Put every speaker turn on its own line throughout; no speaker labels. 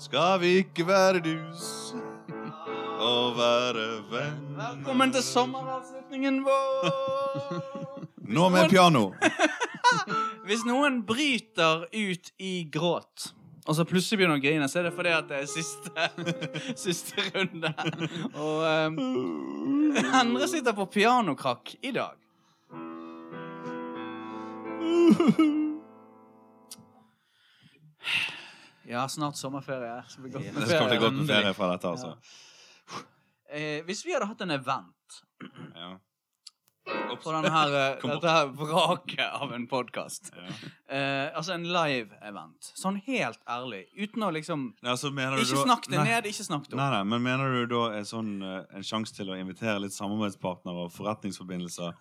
skal vi ikke være dus og være venner.
Velkommen til sommeravslutningen vår!
Nå med piano.
Hvis noen bryter ut i gråt, og så plutselig begynner å grine, så er det fordi at det er siste, siste runde. Og um, Endre sitter på pianokrakk i dag. Ja, snart sommerferie. Så blir det godt med
Det skal bli godt med ferie
ferie.
fra dette, altså.
Eh, hvis vi hadde hatt en event
Ja.
på denne her, eh,
Kom bort.
dette her vraket av en podkast
Ja.
eh, Altså en live-event. Sånn helt ærlig. Uten å liksom
Nei, Altså, mener du
Ikke
da-
snakk det
Nei.
ned, ikke snakk det
Nei,
opp.
nei, men mener du da er sånn eh, en sjanse til å invitere litt samarbeidspartnere og forretningsforbindelser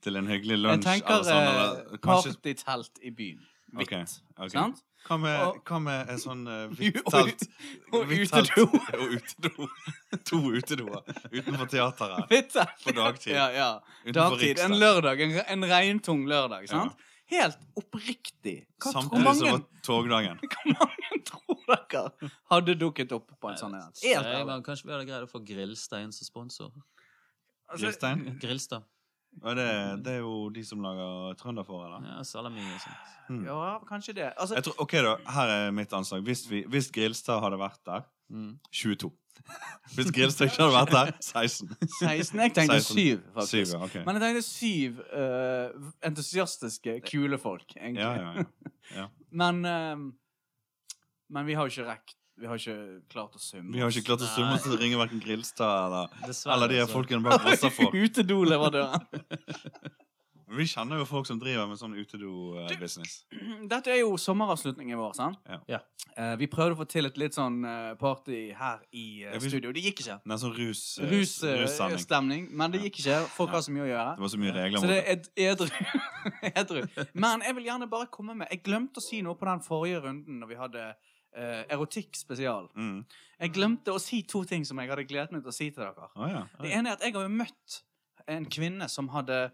til en hyggelig
Jeg
lunsj?
tenker
eller sånn, eller
eh,
kanskje
partytelt i byen. Hvitt.
Ok, ok.
Sant?
Hva med,
og-
hva med en sånn eh, hvitt
Og
telt?
ut- og
hvitt telt-
utedo.
Og utedo. To utedoer utenfor teateret.
Hvitt telt.
På dagtid.
Ja, ja.
Utenfor
Dagtid. En
Riksdag.
lørdag. En, en regntung lørdag. sant? Helt oppriktig. Hva tror
Samtidig som
mange,
var togdagen.
hvor mange tror dere hadde dukket opp på en sånn en? Helt
Nei,
ærlig.
men Kanskje vi hadde greid å få Grillstein som sponsor.
Altså,
Grillstein?
Grillstad.
Og det, det er jo de som lager trønderfår, eller?
Ja, salami og sånt.
ja, kanskje det. Altså,
Jeg tror, ok da, Her er mitt anslag. Hvis, vi, hvis Grilstad hadde vært der
Mm.
22. Hvis Grilstad ikke hadde vært der 16.
16. Jeg tenkte
16.
7, faktisk.
Syv, ja, ok.
Men jeg tenkte syv eh, entusiastiske, kule folk, egentlig.
Ja, ja, ja.
Men ehm, Men vi har jo ikke rekt Vi har ikke klart å summe
Vi har ikke klart å summe oss til å ringe hverken Grilstad eller,
Dessverre. altså.
eller de her
så-
folkene bak Vossafor.
Utedoleverandøren.
Vi kjenner jo folk som driver med sånn utedo-business.
Dette er jo sommeravslutningen vår, sant?
Ja.
Ja.
Eh, vi prøvde å få til et litt sånn eh, party her i eh,
Ja, vi-
studio. Det gikk ikke.
Nei, sånn rus, eh, russending.
Russtemning. men det gikk ikke. Folk har så mye å gjøre.
Det var så mye regler
Så
mot
det
det.
er ed- edru. edru. Men jeg vil gjerne bare komme med Jeg glemte å si noe på den forrige runden når vi hadde eh, erotikk spesial.
Mm.
Jeg glemte å si to ting som jeg hadde gledet meg til å si til dere.
Å, ja.
Det ene er at jeg har jo møtt en kvinne som hadde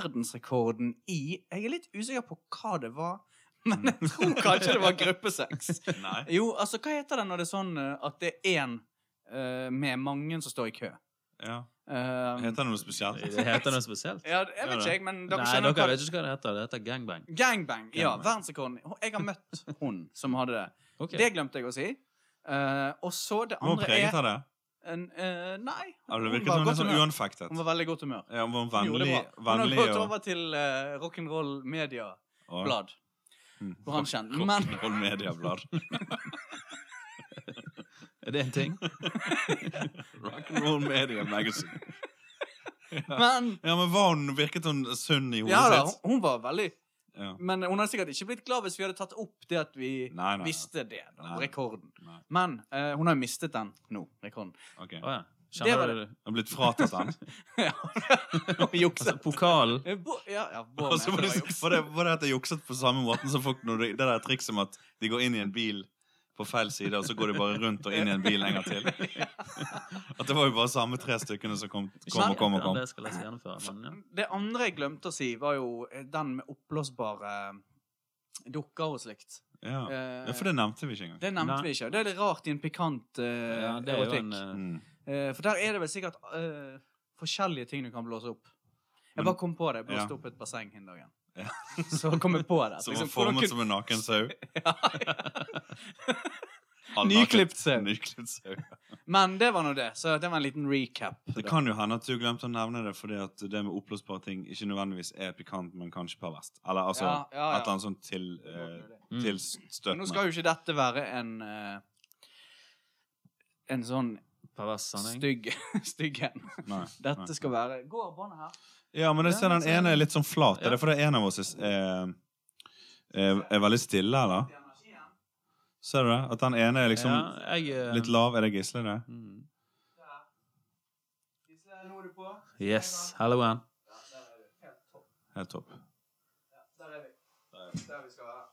verdensrekorden i Jeg er litt usikker på hva det var, men
Mm.
jeg tror kanskje det var gruppesex.
Nei.
Jo, altså, hva heter det når det er sånn eh, at det er én eh, med mange som står i kø?
Ja.
Eh,
Heter det noe spesielt?
Det heter noe spesielt?
ja, jeg
Gjør
vet
det?
ikke, jeg, men dere
Nei,
kjenner
dere
hva
vet ikke hva det heter. Det heter gangbang.
Gangbang. Ja,
Gangbang.
verdensrekorden. Jeg har møtt hun som hadde det.
Ok.
Det glemte jeg å si. Eh, og så det
Hun var
andre
preget
er
av det.
en, eh, Nei.
Eller det
Hun
virket
var,
som hun
godt
er sånn
humør.
uanfektet.
hun var veldig i godt humør.
Ja, hun var
Hun gjorde det
vennlig,
bra.
vennlig
Hun har gått
og,
over til eh, rock'n'roll media
og
blad.
Mm.
Hvor han kjent. Men
Rock'n'roll medieblad.
Er det en ting?
Rock'n'roll media magazine.
Men
Ja, men var hun, virket hun sunn i hodet
ja da,
sitt?
hun var veldig
Ja.
Men hun hadde sikkert ikke blitt glad hvis vi hadde tatt opp det at vi
Nei, nei.
visste det. Da,
Nei.
Rekorden.
Nei.
Men eh, hun har jo mistet den nå. Rekorden.
Ok.
Å ja.
Det var
Kjenner du det?
Hun har blitt fratatt den.
Og jukset.
Altså, pokalen
Eh, Bo, ja, ja, Bård
Og så var det,
mente det var juks.
var det, var det at jeg jukset på samme måten som folk når de, det der trikset med at de går inn i en bil på feil side, og så går de bare rundt og inn i en bil en gang til. At det var jo bare samme tre stykkene som kom, kom og kom og kom.
Det skal jeg så gjennomføre. Men, ja.
Det andre jeg glemte å si, var jo eh, den med oppblåsbare eh, dukker og slikt.
Ja.
Eh,
ja, for det nevnte vi ikke engang.
det nevnte
Nei.
vi ikke. og Det er litt rart i en pikant eh,
ja, det er jo
erotikk.
en eh,
Mm.
Eh, for der er det vel sikkert eh, forskjellige ting du kan blåse opp. Jeg
Men-
bare kom på det. Jeg blåste
ja.
opp et basseng en dag.
Ja.
Så kom jeg på det. at
Som var
liksom, hvordan
formet
kunne-
som en naken sau.
Nyklipt sau.
Nyklipt sau.
Men det var nå det. Så det var en liten recap.
Det
da.
kan jo hende at du glemte å nevne det fordi at det med oppblåsbare ting ikke nødvendigvis er pikant, men kanskje perverst. Eller altså
Ja, ja, ja.
et eller annet sånt til, eh,
Mm.
Nå
tilstøtende.
skal jo ikke dette være en eh, En sånn
eh, pervers sanning.
stygg stygg en.
Nei, nei.
Dette skal være Går båndet her?
Ja, men jeg ser
Ja,
den
så er
ene
det-
er litt sånn flat. Er
Ja.
det fordi en av oss er, er, er, er veldig stille, eller? Ser du det? At den ene er liksom
ja, jeg, eh,
litt lav. Er det Gisle, det?
mm.
Nå er du på.
Yes. Hello, Ann.
Helt topp.
Der er vi. Der vi skal være.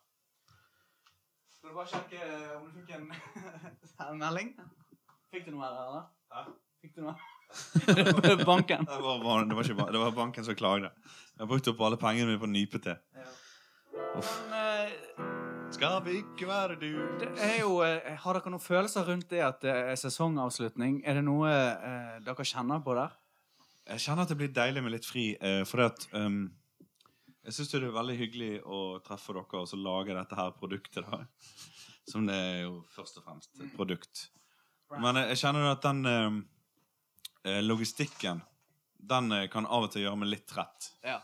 Skal du bare sjekke eh, om du fikk en, en melding? Fikk du noe her, eller?
Hæ?
Fikk du noe? Banken.
Det var, bare- det var, ikke, bare- det var banken som klagde. Jeg har brukt opp alle pengene mine på nypete.
Men, eh,
skal vi ikke være du.
Det er jo, eh, har dere noen følelser rundt det at det er sesongavslutning? Er det noe eh, dere kjenner på der?
Jeg kjenner at det blir deilig med litt fri, eh, for at ehm, Jeg syns det er veldig hyggelig å treffe dere og så lage dette her produktet, da. Som det er jo først og fremst et produkt. Men jeg, jeg kjenner at den ehm, eh, logistikken, den eh, kan av og til gjøre meg litt trett.
Ja.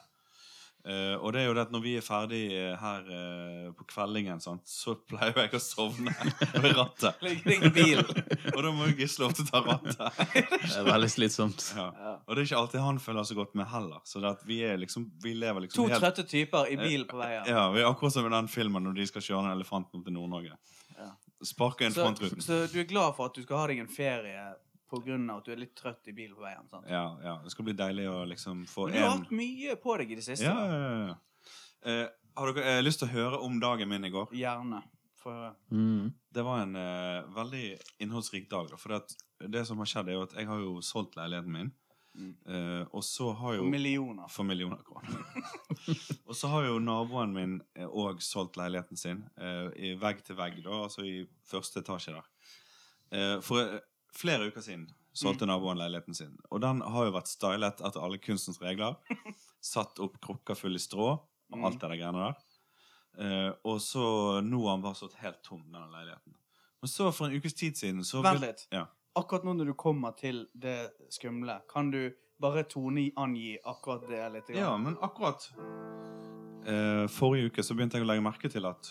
Eh, og det er jo det at når vi er ferdig eh, her eh, på kveldingen, sant, så pleier jo jeg å sovne ved rattet.
Ligger det i bilen?
Og da må jo Gisle ofte ta rattet.
Det er veldig slitsomt.
Ja.
Ja.
Og det er ikke alltid han føler så godt med heller. Så det at vi, er liksom, vi lever liksom
To
helt-
trøtte typer i bil på vei her.
Ja, vi er akkurat som i den filmen når de skal kjøre den elefanten opp til Nord-Norge.
Ja.
Sparke inn
Så,
frontruten.
så du er glad for at du skal ha deg en ferie på grunn av at du er litt trøtt i bilen på veien? sant?
Ja, ja. Det skal bli deilig å liksom få
Men Du har
en
hatt mye på deg i det
Ja,
siste.
ja,
da.
ja. ja. Eh, har dere eh, lyst til å høre om dagen min i går?
Gjerne. For,
Mm.
Det var en eh, veldig innholdsrik dag. Da, for det, at det som har skjedd, er jo at jeg har jo solgt leiligheten min.
Mm.
eh, og så har jo
millioner.
For millioner kroner. og så har jo naboen min òg solgt leiligheten sin eh, i vegg til vegg, da, altså i første etasje der. Eh, for eh, flere uker siden
Mm.
solgte naboen leiligheten sin. Og den har jo vært stylet etter alle kunstens regler. Satt opp krukker full i strå og
Mm.
alt det der greiene der. Eh, og så nå har han bare stått helt tom, denne leiligheten. Men så for en ukes tid siden så
Vent
begyn-
litt.
Ja.
Akkurat nå når du kommer til det skumle, kan du bare Tone angi akkurat det litt? grann?
Ja, men akkurat eh, Forrige uke så begynte jeg å legge merke til at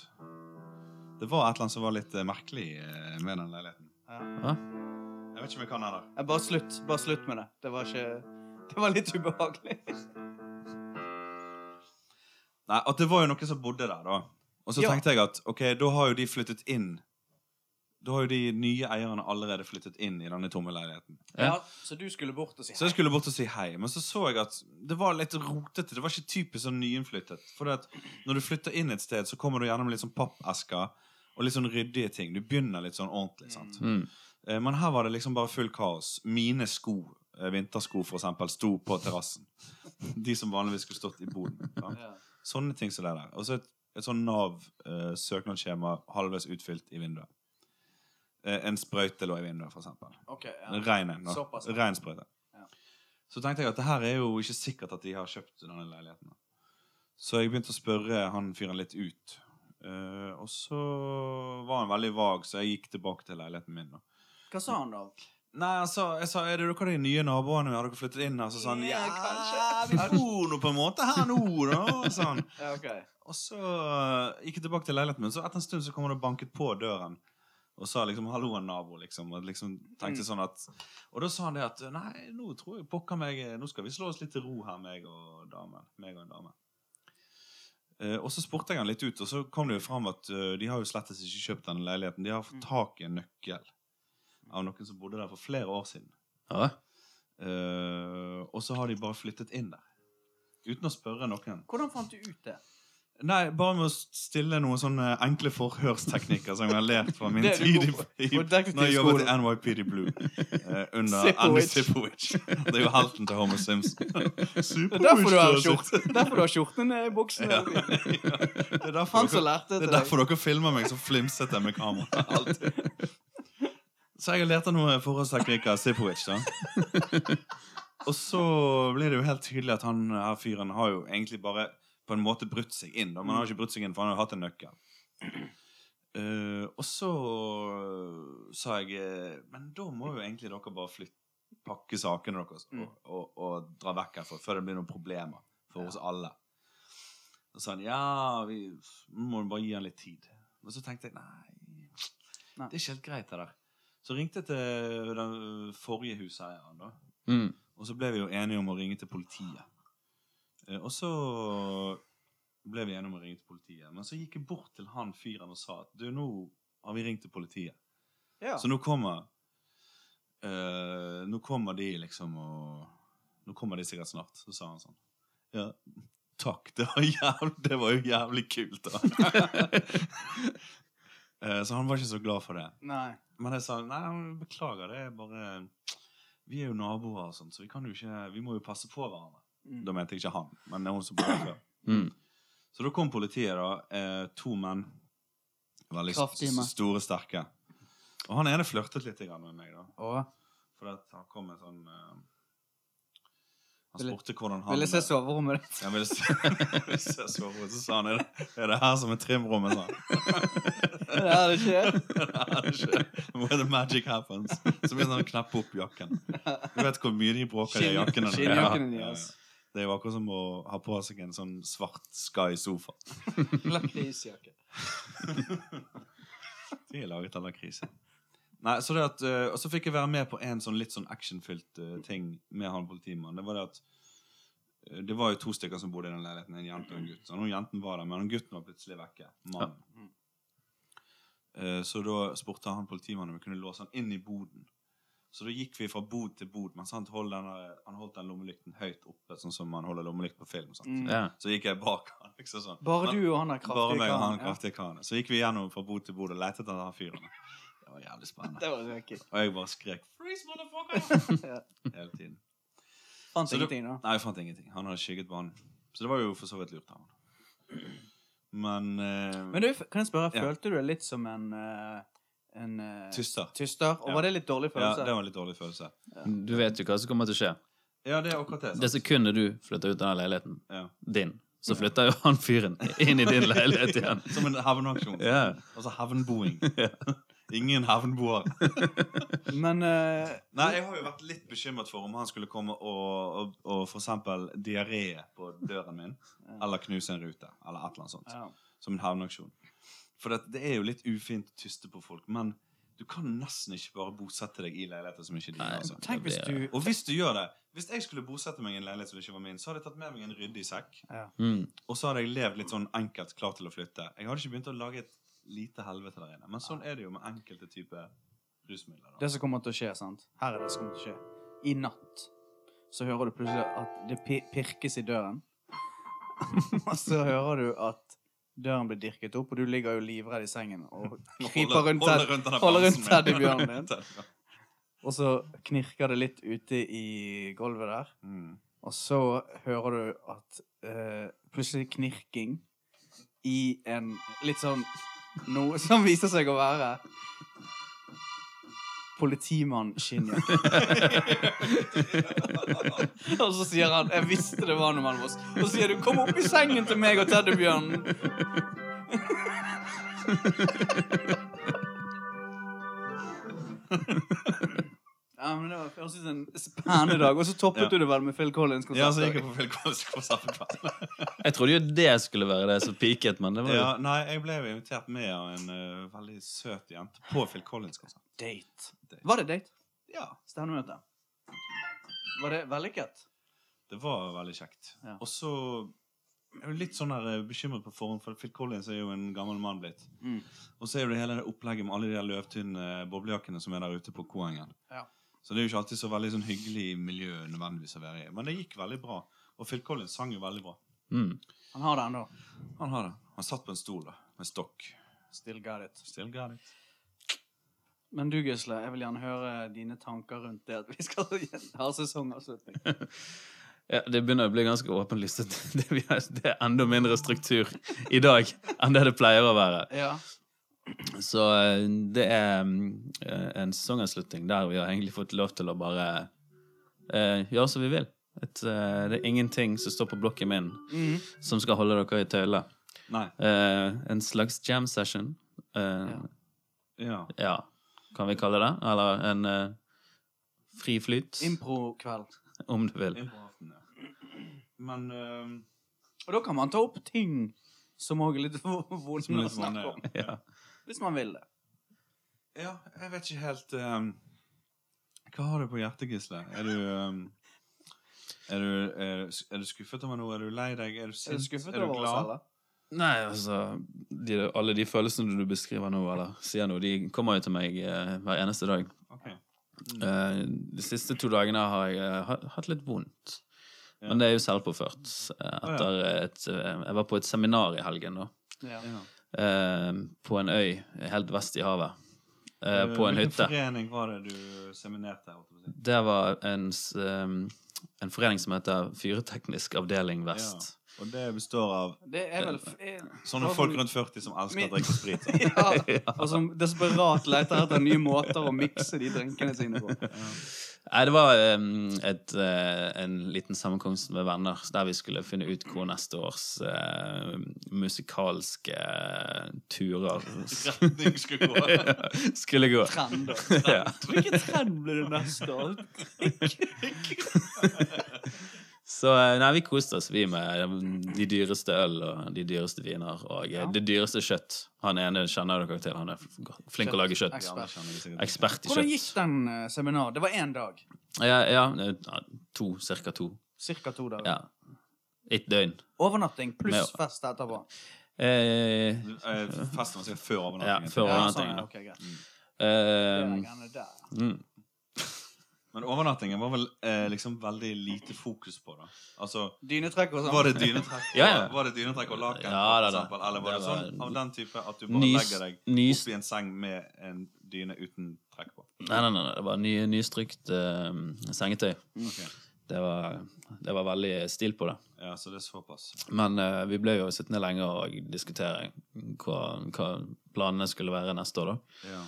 det var et eller annet som var litt eh, merkelig eh, med den leiligheten.
Ja.
Jeg vet ikke om jeg kan heller.
Nei, Bare slutt. Bare slutt med det. Det var ikke Det var litt ubehagelig.
Nei, at det var jo noen som bodde der, da. Og så
Ja.
tenkte jeg at ok, da har jo de flyttet inn. Da har jo de nye eierne allerede flyttet inn i denne tomme leiligheten.
Ja.
Ja, så du skulle bort og si
Så jeg skulle bort og si hei, men så så jeg at det var litt rotete. Det var ikke typisk sånn nyinnflyttet. For det at når du flytter inn et sted, så kommer du gjennom litt sånn pappesker og litt sånn ryddige ting. Du begynner litt sånn ordentlig. sant?
Mm.
Eh, Men her var det liksom bare full kaos. Mine sko, eh, vintersko for eksempel, sto på terrassen. De som vanligvis skulle stått i boden. sant?
Ja.
Sånne ting som det der. Og så et, et sånn Nav-søknadsskjema halvveis utfylt i vinduet. Eh, En sprøyte lå i vinduet, for eksempel.
Ok, ja.
Rein en, da.
Såpass, ja.
Rein sprøyte.
Ja.
Så tenkte jeg at det her er jo ikke sikkert at de har kjøpt denne leiligheten. da. Så jeg begynte å spørre han fyren litt ut. Eh, og så var han veldig vag, så jeg gikk tilbake til leiligheten min. da.
Hva sa han da?
Nei, altså, jeg sa, er det dere de nye naboene vi har dere flyttet inn her? Så sa han, ja,
Ja,
vi
kanskje.
bor nå på en måte her nå, da, sa han.
Ja, ok.
Og så eh, gikk jeg tilbake til leiligheten min, så etter en stund så kom han og banket på døren. Og sa liksom 'hallo, en nabo', liksom. Og liksom tenkte sånn at Og da sa han det at 'nei, nå tror jeg pokker meg Nå skal vi slå oss litt til ro her, meg og damen. Meg og en dame'. Eh, og så spurte jeg han litt ut, og så kom det jo fram at eh, de har jo slettes ikke kjøpt denne leiligheten. De har fått tak i en nøkkel av noen som bodde der for flere år siden.
Ja.
Eh, og så har de bare flyttet inn der. Uten å spørre noen.
Hvordan fant du ut det?
Nei, bare med å stille noen sånne enkle forhørsteknikker som jeg har lært fra min
Det du
tid i,
går
i
på detektivskolen.
Når jeg jobbet i NYPD Blue eh, under
Sipowicz.
Andy Sipowicz. Det er jo helten til Homer Simpson.
Det er derfor du har
Sipowicz, altså.
skjorten Derfor du har skjorten ned i buksen.
Ja. Det er derfor
Han som
dere,
lærte
det
det
er derfor dere filmer meg så flimsete med kamera. Alltid. Så jeg har lært av noen forhåndsteknikker av Sipowicz, da. Og så blir det jo helt tydelig at han her fyren har jo egentlig bare på en måte brutt seg inn. Da. Men han har ikke brutt seg inn, for han har jo hatt en nøkkel. Eh, og så sa jeg eh, Men da må jo egentlig dere bare flytte, pakke sakene deres og, og, og dra vekk herfra før det blir noen problemer for oss alle. Og sa han ja, vi må bare gi han litt tid. Og så tenkte jeg nei,
Nei.
det er ikke helt greit det der. Så ringte jeg til den forrige huseieren, da.
Mm.
Og så ble vi jo enige om å ringe til politiet. Eh, Og så ble vi enige om å ringe til politiet. Men så gikk jeg bort til han fyren og sa at du, nå har vi ringt til politiet.
Ja.
Så nå kommer eh, Nå kommer de liksom og Nå kommer de sikkert snart. Så sa han sånn Ja, takk. Det var, jævlig, det var jo jævlig kult, da. Eh, så han var ikke så glad for det.
Nei.
Men jeg sa nei, men beklager, det er bare Vi er jo naboer og sånn, så vi kan jo ikke Vi må jo passe på hverandre.
Mm.
Da mente jeg ikke han, men hun som bodde der før.
Mm.
Så da kom politiet, da. Eh, to menn. Veldig s-
Kraftige menn.
s- store, sterke. Og han ene flørtet litt grann med meg, da.
Å,
For at han kom med sånn eh, Han
Ville-
spurte hvordan han
Vil jeg se soverommet ditt?
Jeg ville se, ville se soverommet, så sa han er det, er det her som er trimrommet, sa han.
Ja, det skjer.
Where the magic happens. Så begynner han å kneppe opp jakken. Du vet hvor mye de bråker i
Skinn-
jakkene. når de-
skinnjakkene
Ja, ja, ja.
deres.
Det var akkurat som å ha på seg en sånn svart Sky-sofa.
Lakrisjakke.
De er laget av lakris. Nei, så det at, eh, og så fikk jeg være med på en sånn litt sånn actionfylt eh, ting med han politimannen. Det var det at eh, det var jo to stykker som bodde i den leiligheten, en jente og en gutt. Så hun jenten var der, men hun gutten var plutselig vekke. Mann. Eh, Så da spurte han politimannen om vi kunne låse han inn i boden. Så da gikk vi fra bod til bod, mens han holdt den, der- han holdt den lommelykten høyt oppe, sånn som man holder lommelykt på film. Sant?
Mm.
Ja.
Så gikk jeg bak han, liksom sånn.
Bare
Men-
du og han har kraftige
bare meg og han
kran, ja.
kraftige karen. Så gikk vi gjennom fra bod til bod og lette etter han fyren. Det var jævlig spennende.
Det var røkig.
Og jeg bare skrek
Freeze, motherfucker! ja.
hele tiden.
Fant
Så du-
ingenting, da.
Nei, jeg fant ingenting. Han hadde skygget banen. Så det var jo for så vidt lurt av han. Men, eh,
Men du, kan jeg spørre,
Ja.
følte du deg litt som en eh, en eh,
Tyster.
tyster? Og
Ja.
var det litt dårlig
Ja, det
følelse?
var en litt dårlig følelse.
Du vet jo hva som kommer til å skje.
Ja, det er akkurat det. sant?
Det sekundet du flytter ut av den leiligheten
Ja.
din, så flytter jo han fyren inn i din leilighet igjen.
Som en hevnaksjon.
Ja.
Altså hevnboing. Ingen hevnboere.
Men eh,
Nei, jeg har jo vært litt bekymret for om han skulle komme og, og, og for eksempel diaré på døren min. Eller knuse en rute. Eller et eller annet sånt.
ja.
Som en hevnaksjon. For det, det er jo litt ufint å tyste på folk, men du kan nesten ikke bare bosette deg i leiligheter som ikke er
Nei.
dine. Altså.
Tenk hvis du
Og hvis du gjør det Hvis jeg skulle bosette meg i en leilighet som ikke var min, så hadde jeg tatt med meg en ryddig sekk.
ja.
Mm.
Og så hadde jeg levd litt sånn enkelt, klar til å flytte. Jeg hadde ikke begynt å lage et lite helvete der inne. Men sånn er det jo med enkelte typer rusmidler. Da.
Det som kommer til å skje, sant? Her er det som kommer til å skje. I natt så hører du plutselig at det pi- pirkes i døren. og så hører du at døren blir dirket opp, og du ligger jo livredd i sengen og kryper rundt
Holder-
der.
holder rundt denne
holder rundt
bamsen
teddybjørnen
min.
din. Og så knirker det litt ute i gulvet der.
Mm.
Og så hører du at eh, plutselig knirking i en litt sånn Noe som viser seg å være Politimann-skinnjakke. og så sier han 'Jeg visste det var noe mellom oss'. Og så sier du 'Kom opp i sengen til meg og teddybjørnen'. ja, men det var jeg synes, en spennende dag. Og så toppet
Ja.
du det vel med Phil
Ja, så gikk
Collins-konsert.
jeg på Phil Collins-konsert på kvelden.
Jeg trodde jo det skulle være det som piket, men det var jo
Ja, nei, jeg ble jo invitert med av en eh, veldig søt jente på Phil Collins-konsert.
date.
Date.
Var det date?
Ja,
Stevnemøte. Var det vellykket?
det var veldig kjekt.
Ja.
Og så jeg er jo litt sånn der eh, bekymret på forhånd, for Phil Collins er jo en gammel mann blitt.
Mm.
Og så er jo det hele det opplegget med alle de der løvtynne eh, boblejakkene som er der ute på Koengen.
Ja.
Så det er jo ikke alltid så veldig sånn hyggelig miljø nødvendigvis å være i. Men det gikk veldig bra. Og Phil Collins sang jo veldig bra.
mm.
Han har det ennå.
Han har det. Han satt på en stol da, med stokk.
Still got it.
Still got it.
Men du, Gisle, jeg vil gjerne høre dine tanker rundt det at vi skal ha sesongavslutning.
ja, Det begynner å bli ganske åpenlyst at det, vi har- det er enda mindre struktur i dag enn det det pleier å være.
Ja.
Så eh, det er mm, eh, en sesongavslutning der vi har egentlig fått lov til å bare eh, gjøre som vi vil. Et, eh, det er ingenting som står på blokken min
Mm.
Mhm.
som skal holde dere i tøyle.
Nei.
Eh, en slags jam session. eh,
Ja.
ja. kan vi kalle det. Eller en eh, fri flyt,
Impro-kveld.
om du vil.
Inn på aften, ja. Men ehm,
Og da kan man ta opp ting som òg er litt
Som er
vonde å
litt vonde,
snakke
ja.
om.
Ja.
Hvis man vil det.
Ja, jeg vet ikke helt ehm, Hva har du på hjertet, Gisle? Er du, ehm, er, du, er, er du skuffet over noe? Er du lei deg? Er du sint?
Er du skuffet over oss alle?
Nei, altså de, Alle de følelsene du beskriver nå, eller sier nå, de kommer jo til meg eh, hver eneste dag.
Ok.
Eh, de siste to dagene har jeg eh, ha- hatt litt vondt.
Ja.
Men det er jo selvpåført. eh,
ja.
Etter et, eh, jeg var på et seminar i helgen, da.
Ja.
Ja.
eh, På en øy helt vest i havet. eh, På
Hvilken
en hytte.
forening var det du seminerte? holdt jeg på å si?
Det var en, s- um, en forening som heter Fyreteknisk avdeling vest.
Og det består av
Det er vel f- er-
sånne
Hva
folk
som-
rundt 40 som elsker
Min-
å drikke sprit.
ja, og som desperat leter etter nye måter å mikse de drinkene sine på.
Nei, det var em, et, eh, en liten sammenkomst med venner der vi skulle finne ut hvor neste års eh, musikalske turer
Retning skulle gå.
skulle gå.
Trend. da.
Ja.
Hvilken trend blir det neste år?
Så eh, nei, vi koste oss, vi, med de dyreste øl og de dyreste viner og eh,
Ja.
det dyreste kjøtt. Han ene kjenner dere til, han er flink til å lage kjøtt.
Kjøtt.
Ekspert i
Hvordan
kjøtt.
gikk den eh, seminar? Det var én dag.
Ja, ja, eh, to, cirka to.
Cirka to dager.
Ja. Et døgn.
Overnatting pluss
Med-
fest etterpå.
Eh,
Eh, Festen var sikkert før
ja,
overnattingen.
før
Ja, Um, sånn, ja,
overnattingen.
ok, greit.
da. Eh,
Det er gjerne der.
mm.
Men overnattingen var vel eh, liksom veldig lite fokus på, da. Altså,
Dynetrekk og sånn.
var det dynetrekk,
Ja, ja.
Var det dynetrekk og laken,
Ja,
for
da, da.
eksempel? Eller var
Det
det,
var-
sånn av den type at du bare
Nys,
legger deg
nys,
opp i en seng med en dyne uten trekk på?
nei, nei, nei, nei, det var ny, nystrykt eh, sengetøy.
Ok.
Det var, det var veldig stil på det.
Ja, så det er såpass.
Men eh, vi ble jo sittende lenge og diskutere hva, hva planene skulle være neste år, da.
Ja.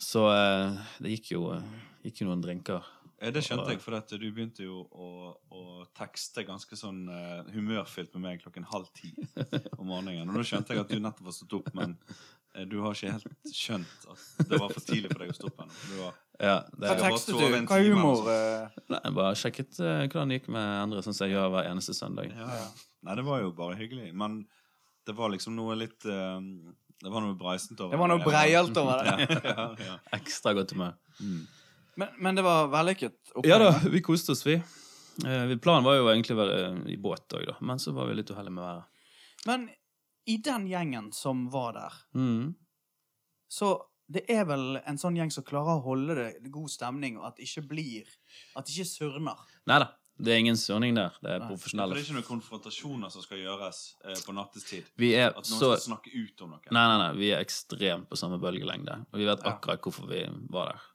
Så eh, det gikk jo, gikk jo noen drinker.
Eh, Det skjønte jeg, for at du begynte jo å, å tekste ganske sånn eh, humørfylt med meg klokken halv ti om morgenen. Og da skjønte jeg at du nettopp har stått opp, men eh, du har ikke helt skjønt at det var for tidlig for deg å stå opp ennå. for Du var
Ja,
Hva
Jeg
det,
har
tekstet
bare sovet
du?
en
Hva
time,
humor? eh,
nei, jeg bare sjekket eh, hvordan det gikk med Endre, sånn som jeg gjør hver eneste søndag.
Ja, ja. Nei, det var jo bare hyggelig. Men det var liksom noe litt eh, Det var noe breisent over
Det var noe breialt over det.
Ja, ja. Mm.
Ekstra godt humør.
Men, men det var vellykket.
Ja da, vi koste oss, vi. Eh, vi- planen var jo egentlig å være eh, i båt òg, da. Men så var vi litt uheldige med været.
Men i den gjengen som var der,
Mm.
så det er vel en sånn gjeng som klarer å holde det god stemning, og at det ikke blir At det ikke surner.
Nei da, det er ingen surning der. Det er
Nei.
For det
profesjonelle.
er ikke noen konfrontasjoner som skal gjøres eh, på nattestid.
Vi er
At noen
så
skal snakke ut om noe.
Nei, nei, nei, vi er ekstremt på samme bølgelengde. Og vi vet
Ja.
akkurat hvorfor vi var der.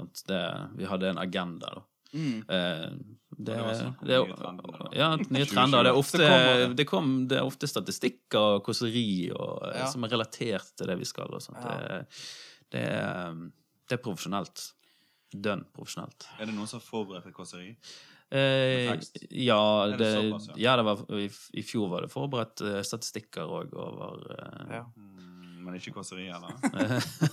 Sant? Det, vi hadde en agenda, da.
Mm.
Eh, det,
Og det var snakk om
det,
nye trender, da.
ja, nye
2020.
trender. Det er
Så
ofte,
kommer det.
det kom, det er ofte statistikker og kåseri og, eh,
Ja.
som er relatert til det vi skal. Og sånt.
Ja.
Det, det, er, eh, det er profesjonelt. Dønn profesjonelt.
Er det noen som har forberedt et kåseri?
Eh,
Med tekst?
ja,
Er det
det,
såpass, ja?
ja det var, i, I fjor var det forberedt eh, statistikker òg over eh,
Ja.
Mm, men ikke kåseri, eller?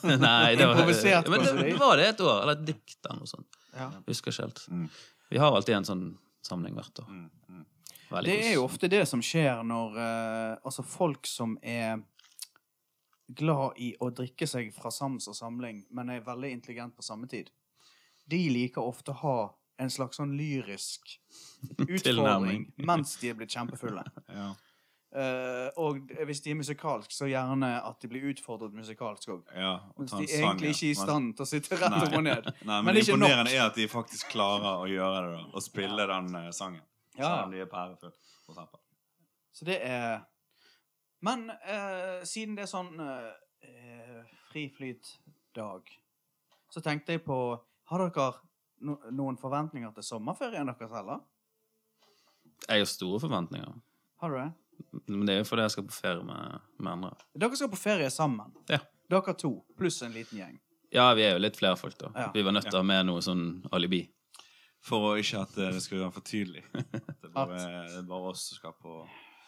Nei, det var,
Improvisert
men det,
kåseri.
var det et år? Eller et dikt eller noe sånt.
Ja.
Husker ikke helt.
Mm.
Vi har alltid en sånn samling hvert år.
Mm, mm.
Veldig
Det
kos.
er jo ofte det som skjer når eh, altså folk som er glad i å drikke seg fra sams og samling, men er veldig intelligent på samme tid, de liker ofte å ha en slags sånn lyrisk utfordring
Tilnærming.
mens de er blitt kjempefulle.
Ja.
Eh, og hvis de er musikalsk, så gjerne at de blir utfordret musikalsk òg.
ja. og
Mens
ta
de
en
er
sang,
egentlig
ja.
ikke er i
Men-
stand til å sitte rett
Nei.
opp og ned.
Nei, men,
men
det
det er ikke nok.
imponerende er at de faktisk klarer å gjøre det, da. Og spille den eh, sangen.
Ja.
Selv om de er pærefulle, for eksempel.
Så det er Men eh, siden det er sånn eh, friflytdag, så tenkte jeg på Har dere no noen forventninger til sommerferien deres heller?
Jeg har store forventninger.
Har du det?
Men det er jo fordi jeg skal på ferie med, med andre.
Dere skal på ferie sammen.
Ja.
Dere to pluss en liten gjeng.
Ja, vi er jo litt flere folk, da.
Ja.
Vi var nødt til å ha med noe sånn alibi.
For å ikke at eh, det skal være for tydelig. At det bare, det er bare oss som skal på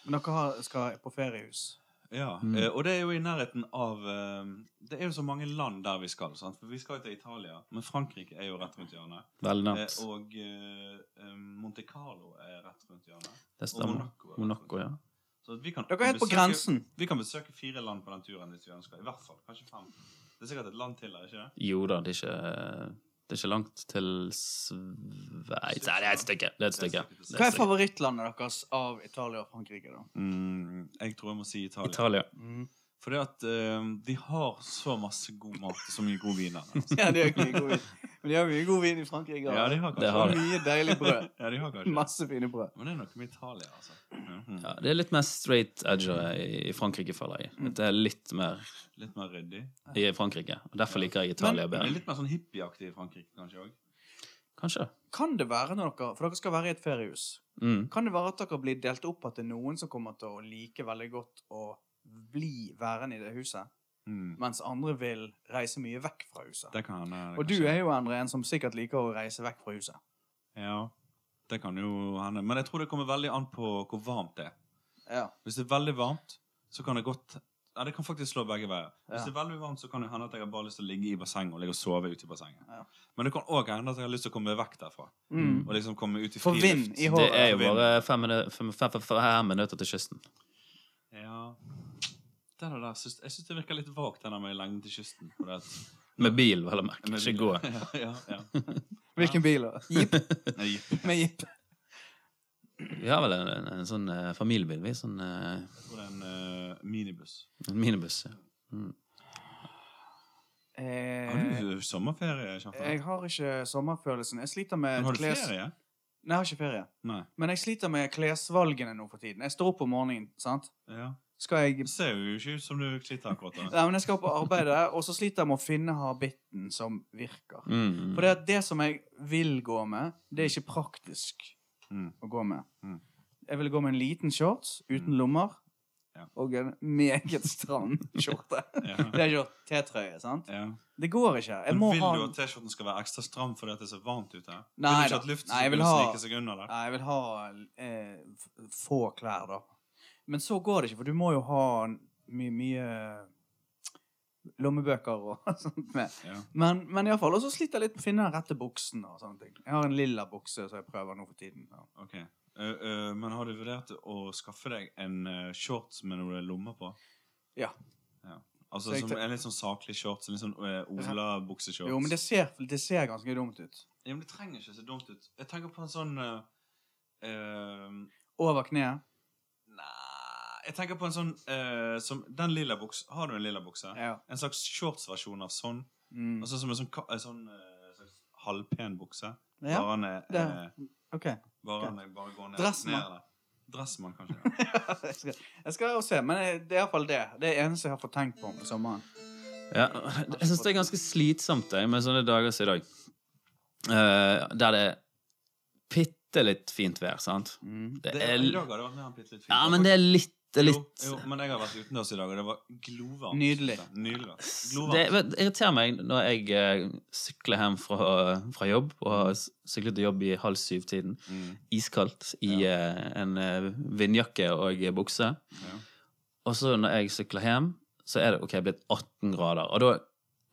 Men dere har, skal på feriehus.
Ja,
Mm.
eh, og det er jo i nærheten av eh, Det er jo så mange land der vi skal. Sant? For vi skal jo til Italia, men Frankrike er jo rett rundt hjørnet.
Veldig
Eh,
nært.
og eh, eh, Monte Carlo er rett rundt hjørnet.
Det
Og
stemmer.
Monaco. er rett rundt
Monaco, ja.
hjørnet. Så vi kan
Dere er helt på
besøke-
grensen.
Vi kan besøke fire land på den turen hvis vi ønsker. I hvert fall, kanskje fem. Det er sikkert et land til der, ikke det?
Jo da, det er ikke det er ikke langt til Sveits Nei, det er et stykke. Det er et stykke.
Hva
Det er
er
et stykke.
favorittlandet deres av Italia og Frankrike, da?
Mm, jeg tror jeg må si Italia.
Italia.
Fordi at eh, de har så masse god mat og så mye god vin der. Altså.
Ja, de har ikke mye god vin. Men de har mye god vin i Frankrike. da.
Ja, de har
Det
kanskje
har
Og mye deilig brød.
Ja, de har kanskje. det.
Masse fine brød.
Men det er noe med Italia, altså. Mhm.
Ja, det er litt mer straight edger i i Frankrike, føler jeg. Det er litt mer
Litt mer ryddig.
i Frankrike. og Derfor liker jeg Italia
Men
bedre.
litt mer sånn hippieaktig i Frankrike, kanskje òg.
Kanskje.
Kan det være når dere For dere skal være i et feriehus.
Mm.
Kan det være at dere blir delt opp at det er noen som kommer til å like veldig godt å bli værende i det huset,
Mm.
mens andre vil reise mye vekk fra huset?
Det kan hende. det kan
Og du
skje.
er jo Endre, en som sikkert liker å reise vekk fra huset.
Ja, det kan jo hende. Men jeg tror det kommer veldig an på hvor varmt det er.
Ja.
Hvis det er veldig varmt, så kan det godt Ja, det kan faktisk slå begge veier. Hvis
Ja.
det er veldig varmt, så kan det hende at jeg har bare lyst til å ligge i bassenget og ligge og sove ute i bassenget.
Ja.
Men det kan òg hende at jeg har lyst til å komme vekk derfra.
Mm.
Og liksom komme ut i
For vind i
Det
håret.
er jo bare fem, minu- fem, fem, fem, fem minutter til kysten.
Ja. Det der, der, syns- jeg syns det virker litt vagt, den der med lengden til kysten. For det, at-
Med bil, vel å merke. Ikke gå.
ja, ja, ja.
Hvilken bil? da? Jeep
Nei, jeg
med jeep.
Vi har vel en, en, en sånn eh, familiebil, vi. Sånn eh,
tror det er en eh, minibuss.
en minibuss. ja.
Har
Eh,
du sommerferie, Kjartan?
jeg har ikke sommerfølelsen. Jeg sliter med
Har du
kles...
ferie?
Nei, jeg har ikke ferie.
Nei.
Men jeg sliter med klesvalgene nå for tiden. Jeg står opp om morgenen, sant?
Ja.
Skal jeg
Det ser jo ikke ut som du sliter akkurat da.
Nei, men jeg skal på arbeidet, og så sliter jeg med å finne habitten som virker.
Mm.
For det, at det som jeg vil gå med, det er ikke praktisk
Mm.
å gå med.
Mm.
Jeg vil gå med en liten shorts uten lommer
Ja.
og en meget stram skjorte.
Ja.
Det er ikke T-trøye, sant?
Ja.
Det går ikke. Jeg
Men
må
vil
ha
du at T-skjorten skal være ekstra stram fordi at det er så varmt ute? vil
Nei
du
da.
ikke at luften
Nei,
skal
jeg vil
kunne
ha-
snike seg under der?
Nei, jeg vil ha eh, f- få klær, da. Men så går det ikke, for du må jo ha mye, mye lommebøker og sånt med.
Ja.
Men, men i alle fall, og så sliter jeg litt med å finne den rette buksen. og sånne ting. Jeg har en lilla bukse som jeg prøver nå for tiden. Ja.
Ok. Ø, ø, men har du vurdert å skaffe deg en ø, shorts med noen lommer på?
Ja.
Ja. Altså
Så jeg
som,
tenk-
en litt sånn saklig shorts. En litt sånn ø, Ola-bukseshorts.
Jo, men det ser, det ser ganske dumt ut.
ja, men det trenger ikke se dumt ut. Jeg tenker på en sånn ø, ø,
Over kneet.
Nei Jeg tenker på en sånn ø, som, Den lilla buks... Har du en lilla bukse?
Ja.
En slags shortsversjon av sånn.
Mm.
Altså som en sånn, ka- en sånn ø, slags halvpen bukse.
ja.
Bare han er
det-
ø,
OK.
Bare
Greit.
om jeg bare går ned
Dressmann.
ned der. Dressmann, kanskje.
Jeg skal, jeg skal jo se, men eh, det er iallfall det. Det er det eneste jeg har fått tenkt på om sommeren.
Ja, jeg syns det er ganske slitsomt jeg, med sånne dager som i dag. Eh, der det er bitte litt fint vær, sant?
Mm.
Det
Det,
er,
I dag har det vært mer bitte litt fint.
ja, men det er litt, det er litt
Jo, jo, men jeg har vært utendørs i dag, og det var glovarmt.
Nydelig.
Nydelig.
det,
Glovarmt.
vet, det irriterer meg når jeg eh, sykler hjem fra, fra jobb, og har s- syklet til jobb i halv syv-tiden,
Mm,
iskaldt, i eh, en eh, vindjakke og eh, bukse.
ja.
Og så når jeg sykler hjem, så er det ok, blitt 18 grader. Og da er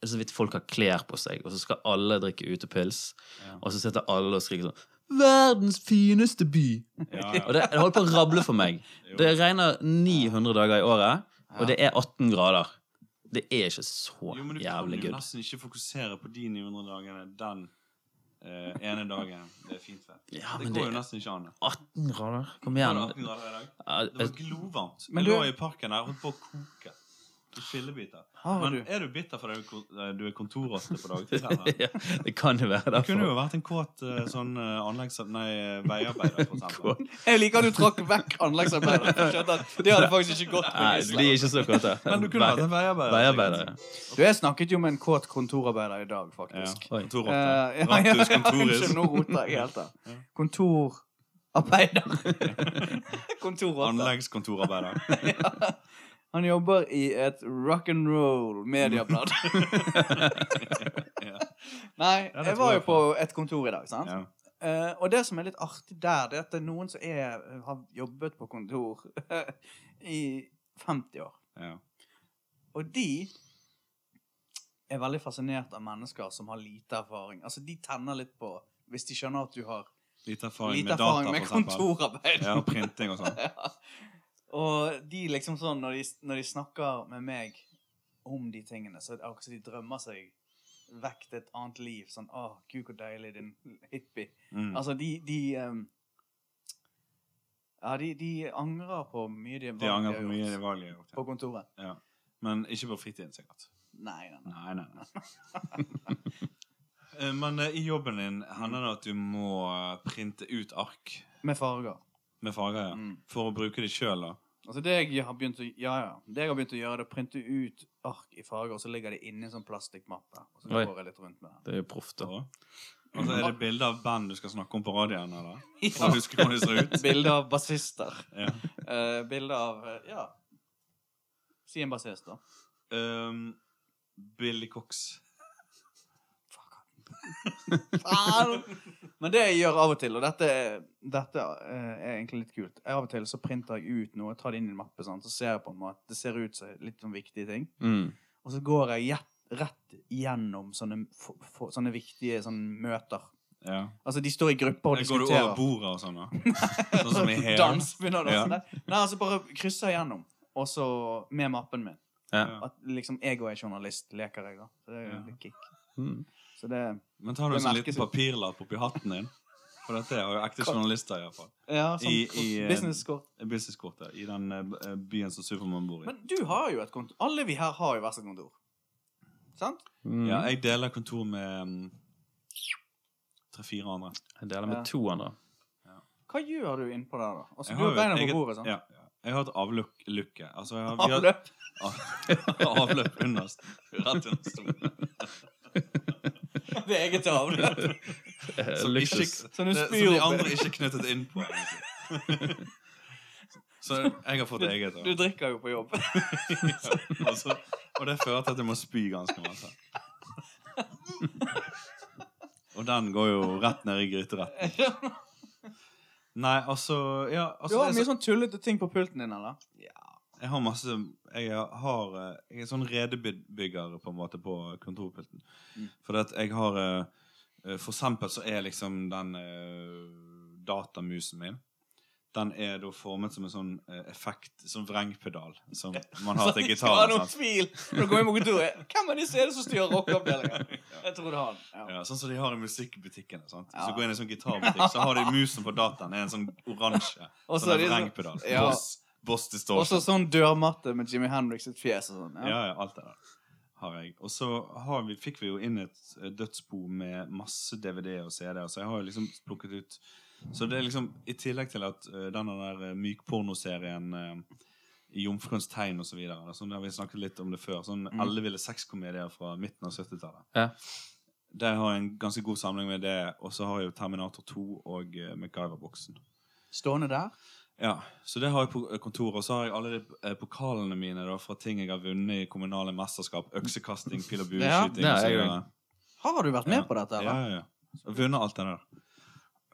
det så vidt folk har klær på seg, og så skal alle drikke utepils.
Ja.
Og så sitter alle og skriker sånn Verdens fineste by!
Ja,
Og
ja.
det, det holder på å rable for meg.
Jo.
Det regner 900 dager i året, og
Ja.
det er 18 grader. Det er ikke så
Jo, men du kan
jævlig
jo
good.
nesten ikke fokusere på de 900 dagene den eh, ene dagen det er fint vær.
Ja,
det
men
går jo
det-
nesten ikke an.
18 grader?
Var
Kom
det
igjen.
18 grader i dag?
Ja,
Det var
jeg-
glovarmt.
Men
Jeg lå
du-
i parken her og holdt på å koke. I fillebiter.
Har
Men
du?
er du bitter fordi du ko- eh, du er kontorrotte på dagtid? eller?
ja, det kan jo være
Det kunne
derfor.
jo vært en kåt eh, sånn eh, anleggs... Nei, eh, veiarbeider, for eksempel.
Jeg liker at du trakk vekk anleggsarbeidet. for jeg skjønte at Det hadde faktisk ikke gått med
Nei, de er
Gisle.
ikke så kåte.
Men du kunne vært en veiarbeider.
Veiarbeidere.
Du, jeg snakket jo med en kåt kontorarbeider i dag, faktisk.
Ja.
Eh,
Kontorrotte.
ja, ja, ja,
Rattus, kontoris.
unnskyld, nå roter jeg helt
Ja.
der. Kontorarbeider. Kontorrotte.
Anleggskontorarbeider.
Han jobber i et rock'n'roll medieblad.
Ja.
Nei,
Ja, det
jeg
tror
var jo
jeg
på et kontor i dag, sant?
Ja.
Eh, og det som er litt artig der, det er at det er noen som er, har jobbet på kontor i 50 år.
Ja.
Og de er veldig fascinert av mennesker som har lite erfaring. Altså, de tenner litt på Hvis de skjønner at du har
Lite erfaring
lite
med data,
erfaring med
for eksempel.
kontorarbeid.
Ja, og printing og sånn.
Ja. Og de liksom sånn, når de, når de snakker med meg om de tingene, så er det akkurat som de drømmer seg vekk til et annet liv. Sånn 'Å, gud, hvor deilig, din hippie'.
Mm.
Altså, de, de ehm, Ja, de, de angrer på mye de,
De angrer på
har
mye
gjort
valg jeg har gjort.
på
ja.
kontoret.
Men ikke på fritiden, sikkert.
Nei, nei, nei.
Nei, nei, nei. Eh, Men eh, i jobben din hender det at du må eh, printe ut ark
Med farger.
med farger, ja.
Mm.
For å bruke de sjøl, da.
Altså, det jeg har begynt å, ja, ja. Det jeg har begynt å gjøre, det er å printe ut ark i farger, og så ligger det inni en sånn plastikkmappe. Og så
Oi.
går jeg litt rundt med den.
Det er jo proft, da.
Altså, er det bilde av band du skal snakke om på radioen? eller? For å huske hvordan de ser ut?
Bilde Sånn av bassister.
Ja.
Eh, bilde av eh, Ja. Si en bassist, da.
Ehm, Billy Cox.
Faen! Men det jeg gjør av og til, og dette, dette eh, er egentlig litt kult Av og til så printer jeg ut noe, tar det inn i en mappe, sant? så ser jeg på en måte Det ser ut som litt sånn viktige ting.
Mm.
Og så går jeg gjett- rett gjennom sånne, f- f- sånne viktige sånne møter.
Ja.
Altså, de står i grupper og
Går du over
diskuterer.
bordet og sånn, da? Sånn som i Hair?
Dans begynner det
Ja.
også. Nei, Nei, altså bare krysser jeg gjennom. Og så med mappen min.
Ja.
At liksom jeg og er journalist, leker jeg, da. Så det er jo
Ja.
litt kick.
Mm.
Så det
Men tar du
Det
en sånn
merkes
liten
jo.
papirlapp oppi hatten din? For dette har jo ekte journalister, iallfall.
Ja, sånn
I- i, eh,
businesskort.
Businesskortet i den eh, b- eh, byen som Supermann bor i.
Men du har jo et kontor. Alle vi her har jo hvert sitt kontor. Sant?
Mm.
Ja, jeg deler kontor med mm, tre-fire andre.
Jeg deler med
Ja.
to andre.
Hva gjør du innpå der, da? Altså,
Jeg
du har
jo et
beina på
eget-
bordet, sant?
Ja, ja. jeg har et avlukke. Altså, jeg har, vi har,
Avløp.
Avløp underst. Rett under stolen.
Det er eget avløp.
Eh,
Som, ikke,
Luksus.
det,
Som du
som
spyr
de
opp.
andre ikke knyttet inn på. egentlig. Så jeg har fått eget.
Du drikker jo på jobb.
Og, så, og det fører til at jeg må spy ganske masse. Og den går jo rett ned i gryteretten. Nei, altså Ja,
Du
altså
har
det er
mye
så,
sånn tullete ting på pulten din, eller?
jeg har masse Jeg har eh, Jeg er sånn redebygger på en måte på kontorpulten.
Mm.
For at jeg har eh, eh, For eksempel så er liksom den eh, datamusen min den er da formet som en sånn eh, effekt, sånn vrengpedal, som man har til
Ja,
gitaren.
noen
sant?
tvil. Når du går inn på kontoret, hvem er disse er det som styrer rockeavdelingen? Jeg tror det er han. Ja.
Ja, sånn som de har i musikkbutikkene. sant? Hvis
Ja.
du går inn i en sånn gitarbutikk, så har de musen på dataen. er En sånn oransje.
Og så
Sånn
er de
en
så-
vrengpedal.
Ja.
Boss, boss
Og så
distortion.
sånn dørmatte med Jimmy Hendrix sitt fjes og sånn. Ja.
Ja, ja, alt det der har jeg. Og så har vi, fikk vi jo inn et eh, dødsbo med masse DVD og CD-er, så jeg har jo liksom plukket ut Så det er liksom, i tillegg til at eh, denne der eh, mykpornoserien eh, i Jomfruens tegn osv. Sånn, der vi snakket litt om det før. Sånn
Mm.
elleville sexkomedier fra midten av 70-tallet.
Ja.
Der har jeg en ganske god samling med det. Og så har jeg jo Terminator 2 og eh, MacGyver-boksen.
Stående der.
Ja, så det har jeg på kontoret. Og så har jeg alle de eh, pokalene mine da, fra ting jeg har vunnet i kommunale mesterskap. Øksekasting, pil og bueskyting
Ja,
og så
det er jeg
videre.
Har du vært med på
Ja,
dette, eller?
ja, ja. Og vunnet alt det der.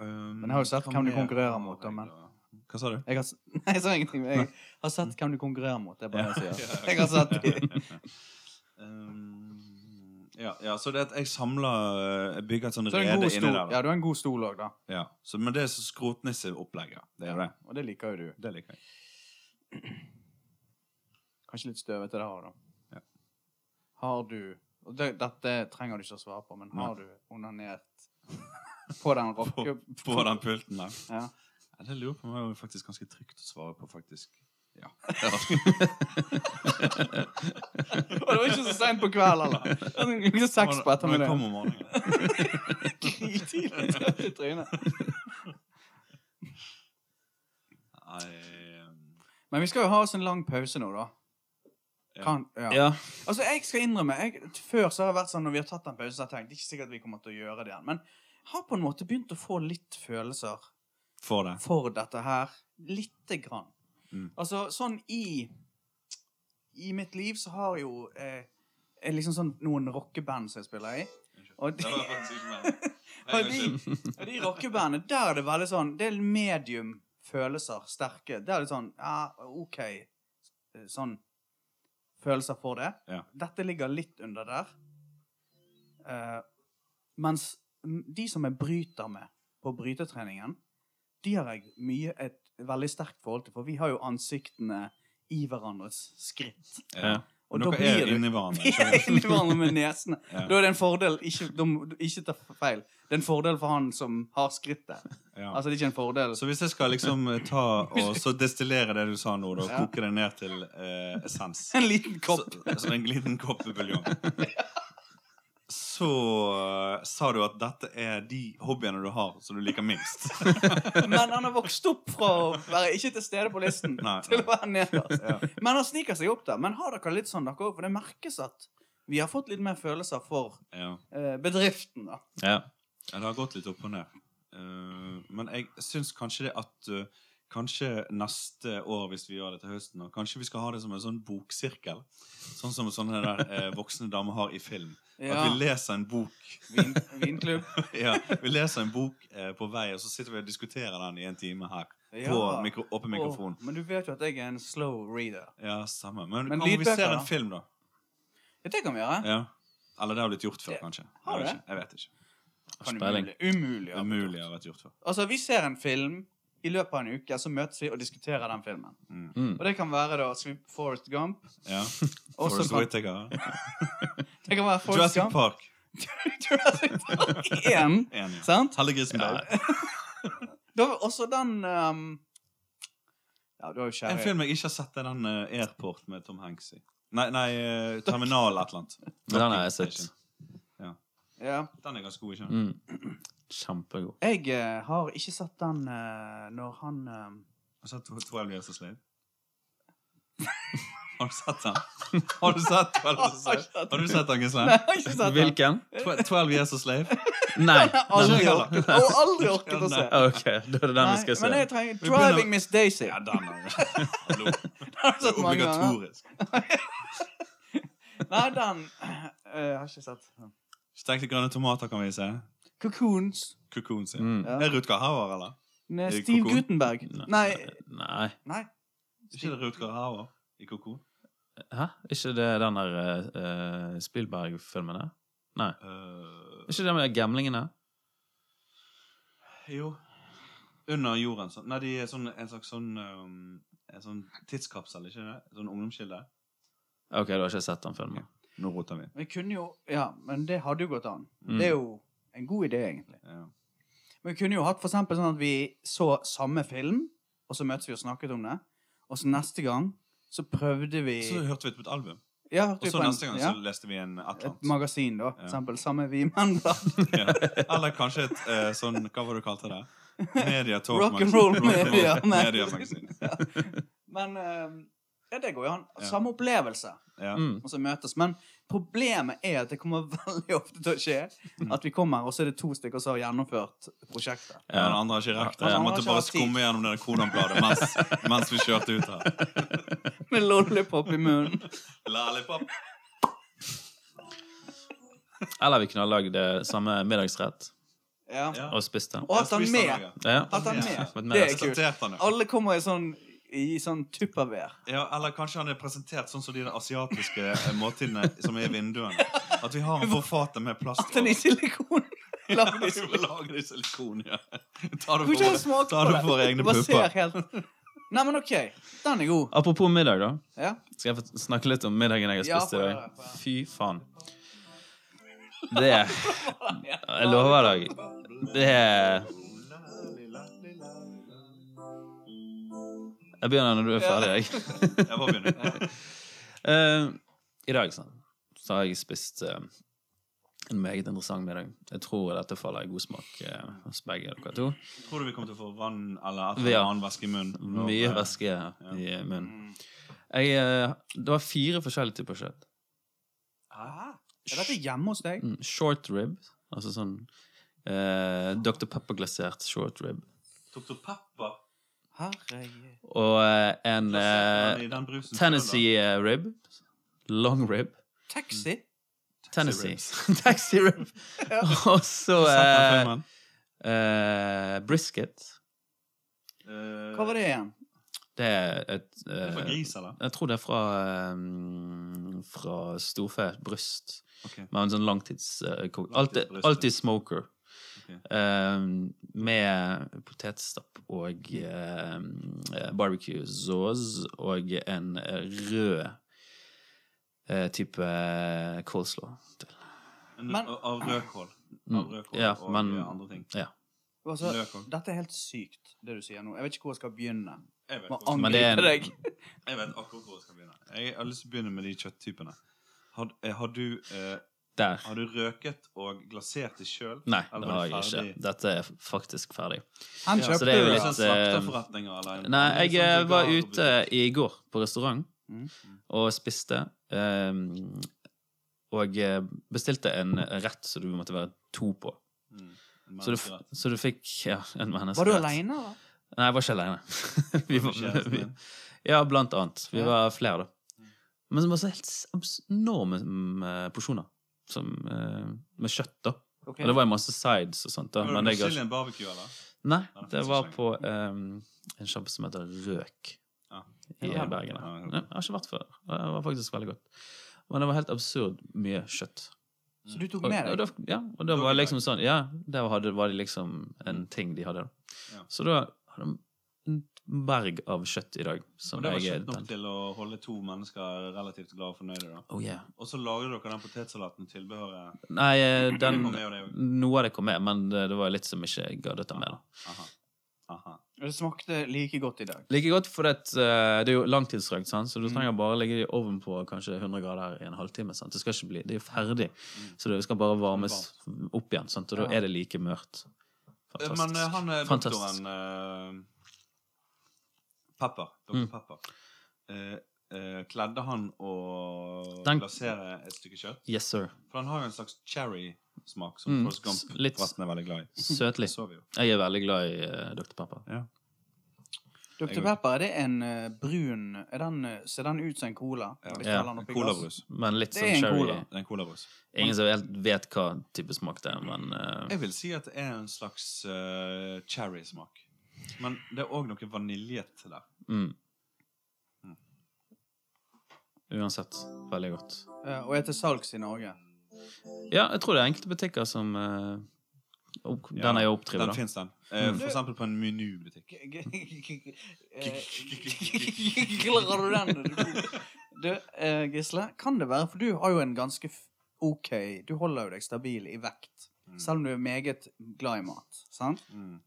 Um,
Men jeg har jo sett
hva
hvem du
mer
konkurrerer
har
mot, da,
jeg
men-
Hva sa du?
Jeg har, s- nei, jeg sa ingenting. men Jeg har sett hvem du konkurrerer mot. Det er bare det jeg sier. Jeg har sett de.
Um, ja, ja, så det at jeg samler eh, Jeg bygger et sånt
Så det er
rede
en god
inni
stol.
der.
Ja,
da.
du har en god stol òg, da.
Ja. Så, men det er så skrotnisseopplegget. Det er jo det.
Og det liker jo du.
Det liker jeg.
Kanskje litt støvete det her, da.
Ja.
Har du og det, Dette trenger du ikke å svare på, men har du onanert på den rocke...
På den pulten der.
Ja.
Ja, det lurer på meg om det er faktisk ganske trygt å svare på, faktisk. Ja.
Og det var ikke så seint på kvelden, eller? Ikke seks
Når
på
jeg
ettermiddagen.
kom om morgenen.
Grytidlig trøtt i trynet.
Nei
Men vi skal jo ha oss en lang pause nå, da.
Ja.
Kan, ja.
Ja.
Altså, jeg skal innrømme jeg, Før så har det vært sånn når vi har tatt en pause, så har jeg tenkt ikke sikkert vi kommer til å gjøre det igjen. Men jeg har på en måte begynt å få litt følelser
For det.
for dette her. Lite grann.
Mm.
Altså, sånn i I mitt liv så har jo eh, eh, liksom sånn noen rockeband som jeg spiller i. Og de, og de, og de rockebandene, der er det veldig sånn Det er medium følelser sterke. Der er det sånn Ja, OK. Sånn følelser for det.
Ja.
Dette ligger litt under der. Eh, mens m- de som jeg bryter med på brytetreningen, de har jeg mye et veldig sterkt forhold til, for vi har jo ansiktene i hverandres skritt.
Ja.
Og
Dere
da blir
er
du
inni hverandre.
Vi er
ikke sant?
inni hverandre med nesene.
Ja.
Da er det en fordel Ikke, de, ikke ta feil. Det er en fordel for han som har skrittet.
Ja.
Altså, det er ikke en fordel.
Så hvis jeg skal liksom eh, ta og så destillere det du sa nå, da, og
Ja.
koke det ned til eh, essens
En liten kopp.
Så, som en liten kopp med buljong. Så eh, sa du at dette er de hobbyene du har som du liker minst.
Men han har vokst opp fra å være ikke til stede på listen
Nei,
til å
nei.
være nederst. Men han sniker seg opp der. Men har dere litt sånn, dere òg? For det merkes at vi har fått litt mer følelser for
Ja.
eh, bedriften, da.
ja.
Ja, det har gått litt opp og ned. Eh, men jeg syns kanskje det at eh, Kanskje neste år, hvis vi gjør det til høsten, og kanskje vi skal ha det som en sånn boksirkel. Sånn som sånne der eh, voksne damer har i film.
Ja.
At vi leser en bok
Vin, vinklubb.
ja, Vi leser en bok eh, på vei, og så sitter vi og diskuterer den i en time her. På
Ja.
mikro åpen mikrofon.
Åh, men du vet jo at jeg er en slow reader.
Ja, samme. Men,
Men
hva om vi
lydbøker,
ser
da?
en film, da?
Ja, det kan vi gjøre.
Ja. Eller det har blitt gjort før,
Det-
kanskje. Jeg
har
vet
det?
ikke. Jeg vet ikke.
Kan
Speiling.
umulig. Umulig.
Det
ja.
er mulig det har vært gjort før.
Altså, vi ser en film i løpet av en uke, så møtes vi og diskuterer den filmen.
Mm.
Mm.
Og det kan være da skal vi- Forrest Gump.
Ja.
og så
Forrest
kan,
Whittaker.
det kan være Forrest
Jurassic
Gump.
Park.
Jurassic Park 1.
Enig.
Sant?
Hellegrisen
Ja.
Dale.
Da var også den um, Ja, du har jo
En
kjærlighet.
film jeg ikke har sett, er den eh, Airport med Tom Hanks i. Nei, nei eh, Terminal et eller annet.
Den har jeg sett.
Ja.
Den er ganske god, ikke sant?
Mm. Kjempegod.
Jeg eh, har ikke sett den eh, når han eh,
Har du sett 12 Years a Slave? Har du sett den? Har du sett 12 Years a Slave? Har du sett den,
Nei,
Gisle?
jeg har ikke sett den.
Hvilken?
12 Years a Slave?
Nei. Ah,
Jeg
Nei,
har aldri, orket- jeg har aldri orket å se.
Ok, da er det den vi skal
Nei, men
se.
jeg trenger
Vi begynner-
'Driving Miss Daisy'.
Ja, den er Hallo.
har jeg
Det er
sett mange ganger.
obligatorisk.
Nei, den eh, jeg har ikke sett.
Stekte grønne tomater kan vi se.
Cocoons.
Cocoon sin.
Mm.
Ja.
Er Rutger Hauer, eller?
Med
Er det
Steve
Cocoon?
Gutenberg.
Ne-
Nei.
Nei.
Nei.
Er ikke det Rutger Hauer i Cocoon?
Hæ? Ikke det den der eh, Spielberg-filmen der?
Eh,
Ikke det med gamlingene?
jo. Under jorden. Sånn. Nei, de er sånn, en slags sånn um, En sånn tidskapsel, ikke det? Sånn ungdomskilde.
Ok, du har ikke sett den filmen.
Nå roter vi.
Vi kunne jo Ja, men det hadde jo gått an.
Mm.
Det er jo en god idé, egentlig.
Ja.
Men vi kunne jo hatt for eksempel sånn at vi så samme film, og så møttes vi og snakket om det, og så neste gang så prøvde vi
Så hørte vi på et album.
Ja, hørte
Og
vi
så
på en-
neste gang så
ja,
leste vi en et
et
eller annet.
magasin, da. For
Ja.
eksempel. Samme vi menn, da.
Ja. Eller kanskje et eh, sånn Hva var det du kalte det? Media Talk
Rock and
Magazine.
roll
Rock and roll
media.
media Magazine.
Men eh, ja, det går jo an.
Ja.
Samme opplevelse.
Ja.
Mm.
og så møtes. Men problemet er at det kommer veldig ofte til å skje at vi kommer, og så er det to stykker som har gjennomført prosjektet.
Ja, den andre har ikke rekt det.
Ja,
Jeg
han har
måtte
ikke
bare
hatt tid.
skumme gjennom det der Konan-bladet mens, mens vi kjørte ut her.
Med lollipop i munnen.
Lollipop.
Eller vi kunne ha lagd eh, samme middagsrett
Ja.
Ja.
og spist den.
Og hatt han med.
Ja.
Hatt han
Ja.
med.
Men
Det er
Jeg
kult.
Presenterte han jo.
Alle kommer i sånn i sånn tupperware.
Ja, eller kanskje han er presentert sånn som de der asiatiske eh, måltidene som er i vinduene. At vi har en forfater med plast.
Den er i silikon.
Ja, de var laget i silikon, ja. Ta det
Hvor ikke han
for,
smaker
ta det
på
for
det.
egne
Du bare ser
pupper.
helt Nei, men OK. Den er god.
Apropos middag, da.
Ja.
Skal jeg få snakke litt om middagen jeg har
Ja,
spist
få
i
gjøre det,
dag?
få gjøre det.
Fy faen. Det Jeg lover deg. Det er Jeg begynner når du er ferdig, jeg.
Jeg bare begynner.
Eh, I dag sant? så har jeg spist eh, en meget interessant middag. Jeg tror dette faller i god smak eh, hos begge dere to.
Tror du vi kommer til å få vann eller et
Vi har
eller annet væske i munnen? når,
Mye
eh,
væske i munnen.
Mm.
Jeg, eh, det var fire forskjellige typer kjøtt.
Hæ? Er dette hjemme hos deg?
Mm, Short rib, altså sånn eh, Dr. Pepper-glasert short rib.
Tok du pepper?
Herregud.
Og eh, en
Plasserte han
eh,
i den brusen selv, da?
Tennessee eh, rib. Long rib.
Taxi?
Tennessee.
ribs.
Taxi rib. Og så
Sett
eh,
den filmen.
eh, brisket.
Eh,
Hva var det igjen?
Det er et
Er det for
eh,
gris, eller?
Jeg tror det er fra, eh, fra storfe. Bryst.
Ok.
Med en sånn langtids... eh, ko- alltid,
Langtidsbryst, ja.
alltid smoker.
Ok.
Ehm, med potetstapp og ehm, eh, barbecue sauce og en eh, rød eh, type coleslaw. til.
En-
Men-
av rødkål. Av
Mm,
rødkål
ja,
og
men-
eh, andre ting.
Ja.
Altså,
Løk også.
dette er helt sykt, det du sier nå. Jeg vet ikke hvor jeg skal begynne.
Jeg vet,
Må
hvor-
Men det er
angripe deg.
en-
jeg vet akkurat hvor jeg skal begynne. Jeg har lyst til å begynne med de kjøtttypene. Har, eh, har, du, eh,
Der.
har du røket og glasert det sjøl?
Nei, det har jeg ikke. Dette er faktisk ferdig.
Han
Ja,
kjøpte
så det er jo
jo
litt, eh,
Sånn Slakterforretninger eller en-
Nei,
en
jeg
sånn
eh, var
vulgar-
ute i går på restaurant
Mm.
og spiste. ehm, og eh, bestilte en rett som du måtte være to på.
Mm.
Så du, f-
Menneskerett.
så du fikk ja, en menneskerett.
Var du aleine, da?
Nei, jeg var ikke aleine. vi
Var det
var,
kjæresten
vi,
din?
ja, blant annet. Vi
Ja.
var flere, da.
Mm.
Men det var så helt s- abs- enorme mm, eh, porsjoner. Som, eh, med kjøtt, da.
Ok.
Og det var jo masse sides og sånt. da
Var
men
det
jeg, har-
Brazilian barbecue, eller?
Nei,
Nei,
det
så
var
skjønner.
på eh, en sjappe som heter Røk.
Ja.
I
Ja.
Bergen. da.
Ja, ja.
Nei, Jeg har ikke vært før. Det var faktisk veldig godt. Men det var helt absurd mye kjøtt.
Så du tok
Og,
med
og,
deg?
da, ja, og da
Dere
var det
der.
liksom sånn Ja, der hadde, var det liksom en ting de hadde. Da.
Ja.
Så da hadde de en berg av kjøtt i dag.
Og
Som
det var
jeg er
kjøpt nok
den.
til å holde to mennesker relativt glade og fornøyde. da.
Oh, yeah.
Og så lagde dere den potetsalaten med tilbehøret.
Nei, eh, den
Kom med, og det,
Noe av det kom med, men eh, det det var litt som ikke jeg gadd å ta med. Da.
aha. Aha.
Det smakte like godt i dag.
Like godt, for det, eh, det er jo langtidsrøkt, sant? så du
Mm.
trenger bare å legge det i ovnen på kanskje 100 grader i en halvtime. Sant? Det skal ikke bli, det er jo ferdig,
Mm.
så det skal bare varmes opp igjen, sant? og da
Ja.
er det like mørkt.
Eh, Men eh, han eh,
Fantastisk.
doktoren eh, Pepper, Dr.
Mm.
Pepper eh, eh, Kledde han å
Den-
glasere et stykke kjøtt?
Yes, sir.
For han har jo en slags cherry-smak som
Mm,
Forrest Gump
s- litt-
forresten er veldig glad i.
Søtlig.
Det så vi jo.
Jeg er veldig glad i eh, Dr. Pepper.
Dr. Pepper, er det en eh, brun er den, eh, Ser den ut som en cola?
Ja.
Hvis du
Ja,
heller den oppi glass?
Colabrus.
Men litt
Det er
sånn
en
cherry
cola.
Det er en colabrus.
Ingen som helt vet hva type smak det er, men eh,
Jeg vil si at det er en slags eh, cherry-smak. Men det er òg noe vaniljete der.
mm.
Mm.
Uansett, veldig godt.
Eh, og er til salgs i Norge.
Ja, jeg tror det er enkelte butikker som eh, opp,
Ja,
Den er jo oppdrivet,
Den
da.
fins, den. Eh,
Mm.
For eksempel på en menubutikk.
G- g- g- eh, Klarer du den? Du, eh, Gisle, kan det være For du har jo en ganske f- OK Du holder jo deg stabil i vekt,
Mm.
selv om du er meget glad i mat. Sant?
Mm.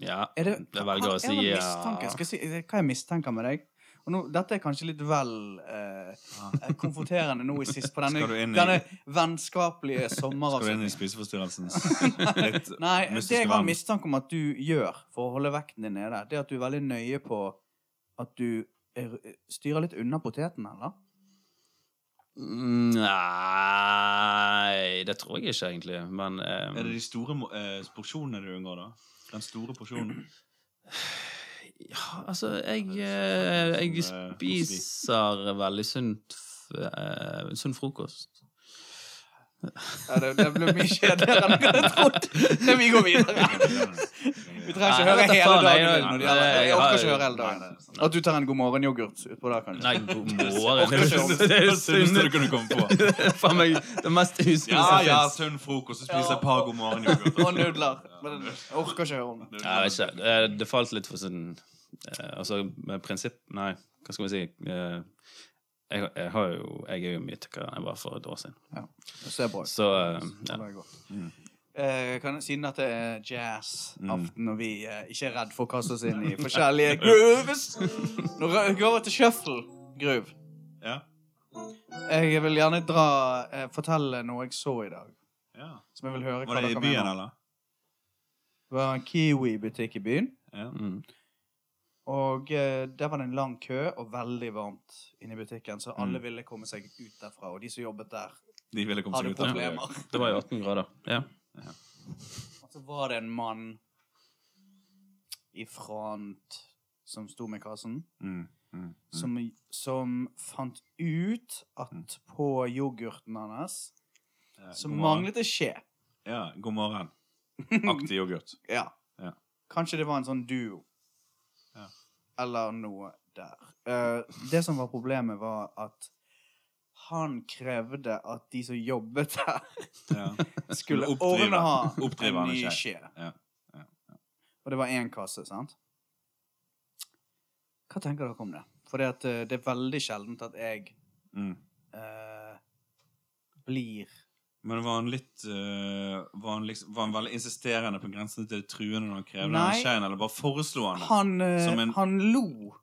Ja.
Er det,
Jeg velger å
er det
si, ja.
mistanke? Skal jeg si hva jeg mistenker med deg? Og nå, dette er kanskje litt vel eh,
Ah.
eh, konfronterende nå i sist på denne,
Skal du inn i-
denne vennskapelige
Skal du inn i
sommeravslutningen.
spiseforstyrrelsens litt
Nei,
mystiske
det jeg har
verden?
mistanke om at du gjør for å holde vekten din nede, det er at du er veldig nøye på at du er, styrer litt unna poteten, eller?
Mm, Nei, det tror jeg ikke egentlig, men eh,
Er det de store mo- eh, porsjonene du unngår, da? Den store porsjonen?
ja, Altså, jeg, eh, jeg
Sånn, eh,
spiser veldig sunt f- eh, sunn frokost.
Ja, det, det ble mye kjedeligere enn jeg hadde trodd. Men vi går videre. Vi
Nei,
trenger ikke
Nei,
høre
dette
hele
faen, jeg-
dagen din. når det gjelder-
jeg-
Jeg orker ikke
jeg-
høre hele
nei,
dagen.
nei, sånn.
At du tar en god morgen-yoghurt utpå der, kanskje.
Nei, god morgen. Det er jo
Det
det er jo
sunneste du
sunn-
kunne komme på.
Faen meg det mest usunne
Ja,
som
ja,
finnes.
sunn frokost, så spiser jeg et par god morgen-yoghurt.
Og nudler. Men jeg orker ikke høre om det.
Ja, jeg vet ikke. Eh, Det falt litt for sånn eh, Altså, med prinsipp Nei, hva skal vi si? Eh, Jeg, jeg, har jo, jeg er jo mye tykkere enn jeg var for et år siden.
Det ser bra ut.
Så eh, ja.
Det er godt.
Mm.
Eh, kan, siden at det er
Mm.
jazz-aften, og vi eh, ikke er redd for å kaste oss inn i forskjellige grooves Nå rø- går vi til shuffle-groove.
Ja.
Jeg vil gjerne dra, eh, fortelle noe jeg så i dag.
Ja.
Som jeg vil høre hva
Var det i
dere
byen,
mener.
eller?
Det var en Kiwi-butikk i byen,
Ja.
mm.
og eh, der var det en lang kø og veldig varmt inne i butikken, så alle
Mm.
ville komme seg ut derfra, og de som jobbet der,
De ville komme seg
hadde
ut av det.
problemer.
Det var jo 18 grader. Ja.
Og så var det en mann i front som sto med kassen.
Mm, mm, mm.
som, som fant ut at på yoghurten hans
Ja,
så
Eh, god morgen.
manglet det skje.
Ja, god morgen. Aktiv yoghurt.
Ja.
Ja.
Kanskje det var en sånn duo.
Ja.
Eller noe der. Eh, det som var problemet, var at han krevde at de som jobbet der,
Ja.
skulle
oppdrive-
ordne ha
oppdrive
en
han
ny
en
skje.
Ja, ja,
Og det var én kasse, sant? Hva tenker dere om det? For det er veldig sjeldent at jeg
Mm.
eh, blir
Men var han litt eh, var, han liksom, var han veldig insisterende på grensen til det truende når han krevde
Nei.
den skjeen, eller bare foreslo han det?
Han, eh,
Som en-
han lo.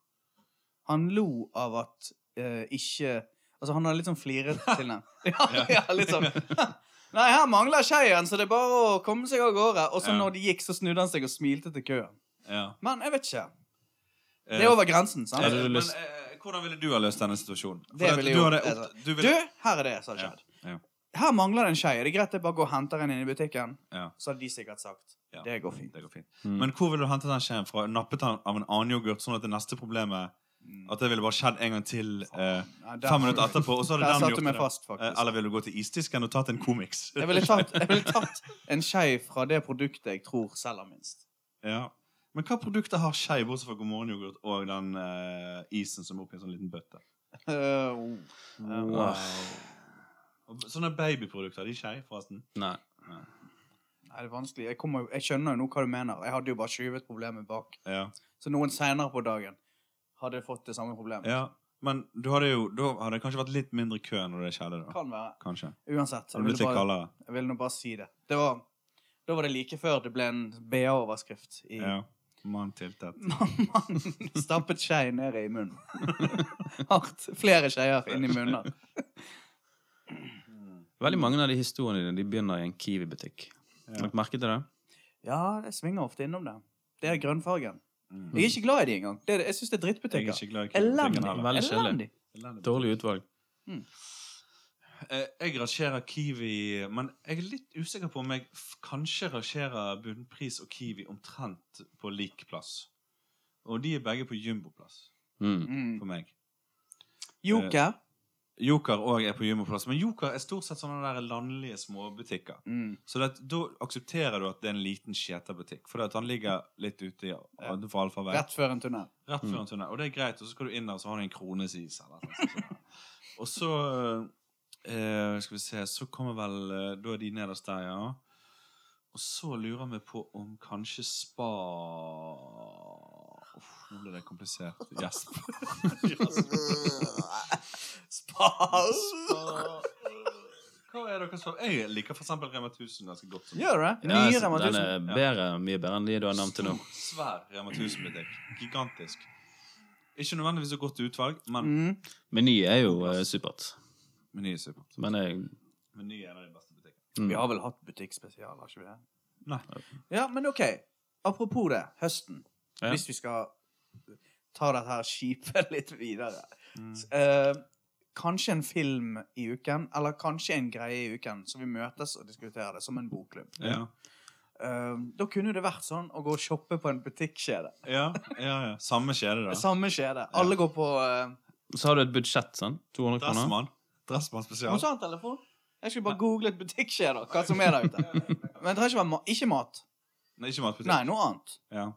Han lo av at eh, ikke Altså, han har litt sånn flirete til den. Ja, ja, litt sånn. Nei, her mangler skeien, så det er bare å komme seg av gårde. Og så
Ja.
når de gikk, så snudde han seg og smilte til køen.
Ja.
Men jeg vet ikke. Det
Eh,
er over grensen, sant?
Eh,
Hadde du
men,
lyst-
eh, hvordan ville du ha løst denne situasjonen? For
Det
at
ville
du
jo-
hadde
jeg Altså,
opp-
sa-
du
Du,
ville,
her er det som har skjedd.
Ja,
Her mangler det en skei. Er det greit jeg bare går og henter en inne i butikken?
Ja.
Så hadde de sikkert sagt
Ja.
det går fint.
Det går fint.
Mm.
Men hvor ville du hentet den skjeen fra? Nappet den av en annen yoghurt, sånn at det neste problemet At det ville bare skjedd en gang til eh,
Ja, Mm, der-
fem minutter etterpå, og så hadde
Der
den
satte du
gjort
meg
det?
fast,
Eh,
faktisk.
Eller ville du gå til isdisken og tatt en komiks?
Jeg ville tatt, jeg ville tatt en skei fra det produktet jeg tror selger minst.
Ja. Men hva produkter har skei, bortsett fra God morgen yoghurt og den eh, isen som er oppi en sånn liten bøtte?
Eh, oh.
Wow.
Og b- Sånne babyprodukter, er de skei, forresten?
Nei.
Nei, det er vanskelig. Jeg, kommer, jo- jeg skjønner jo nå hva du mener. Jeg hadde jo bare skyvet problemet bak.
Ja.
Så noen senere på dagen hadde fått det samme problemet.
ja. Men du hadde jo, da hadde det kanskje vært litt mindre kø når det skjedde, da?
Kan være.
Kanskje. Hadde
Uansett. Jeg
det
ville,
blitt litt
bare,
kaldere?
jeg ville nå bare si det. det var, da var det like før det ble en BA-overskrift i
Ja. Mann tiltet.
Mannen stappet skei ned i munnen. Hardt. Flere skeier inni munnen. Mm.
Veldig mange av de historiene dine de begynner i en Kiwi-butikk.
Ja.
Har dere merket det?
Ja, jeg svinger ofte innom det. Det er grønnfargen.
Mm.
Jeg er ikke glad i de engang. Det er, det- jeg syns det er
Jeg er
drittbutikker.
ikke glad i
Elendig.
Kiwi-butikken heller.
Veldig kjedelig.
Elendig.
Elendig.
Dårlig utvalg.
Eh, Jeg rangerer Kiwi, men jeg er litt usikker på om jeg f- kanskje rangerer Bunnpris og Kiwi omtrent på lik plass. Og de er begge på jumboplass
Mm.
Mm.
for meg.
Joker.
Eh, Joker òg er på jumboplass, men Joker er stort sett sånne der landlige småbutikker.
Mm.
Så det, at- da aksepterer du at det er en liten skjeterbutikk, for han ligger litt ute i for allfarvei.
Rett før en tunnel.
Rett før
Mm.
en tunnel. Og det er greit, og så skal du inn der, og så har du en krones is. Eller, noe sånt sånn. og så eh, Skal vi se, så kommer vel eh, Da er de nederst der, ja. Og så lurer vi på om kanskje spa Uff, Nå ble det komplisert. Gjesp. Spa. Hva er deres favor- Jeg liker for eksempel Rema 1000 ganske godt. som-
Gjør det?
Ja,
Nye
jeg-
Rema
den
1000.
er bedre, mye bedre enn de du har nevnt til nå.
Stor, svær Rema 1000-butikk. Gigantisk. Ikke nødvendigvis så godt utvalg, men
Mm.
Meny er jo eh, supert.
meny er supert.
Men jeg
Meny er en av de beste butikkene.
mm.
Vi har vel hatt butikkspesialer, har ikke vi det?
Nei.
Ja, men OK. Apropos det, høsten.
Ja.
Hvis vi skal ta dette her skipet litt videre.
Mm.
S- eh, kanskje en film i uken, eller kanskje en greie i uken, så vi møtes og diskuterer det som en bokklubb.
Ja.
Eh, da kunne det vært sånn å gå og shoppe på en butikkjede.
Ja, ja, ja. Samme skjede, da.
Samme kjede. Alle går på eh,
Så har du et budsjett, sant? 200 kroner?
Dressmann. Dressmann spesial.
Hun sa en telefon. Jeg skulle bare googlet butikkjeder, hva som er der ute. Men det trenger ikke være ma ikke mat.
Nei, ikke matbutikk.
Nei, noe annet.
Ja.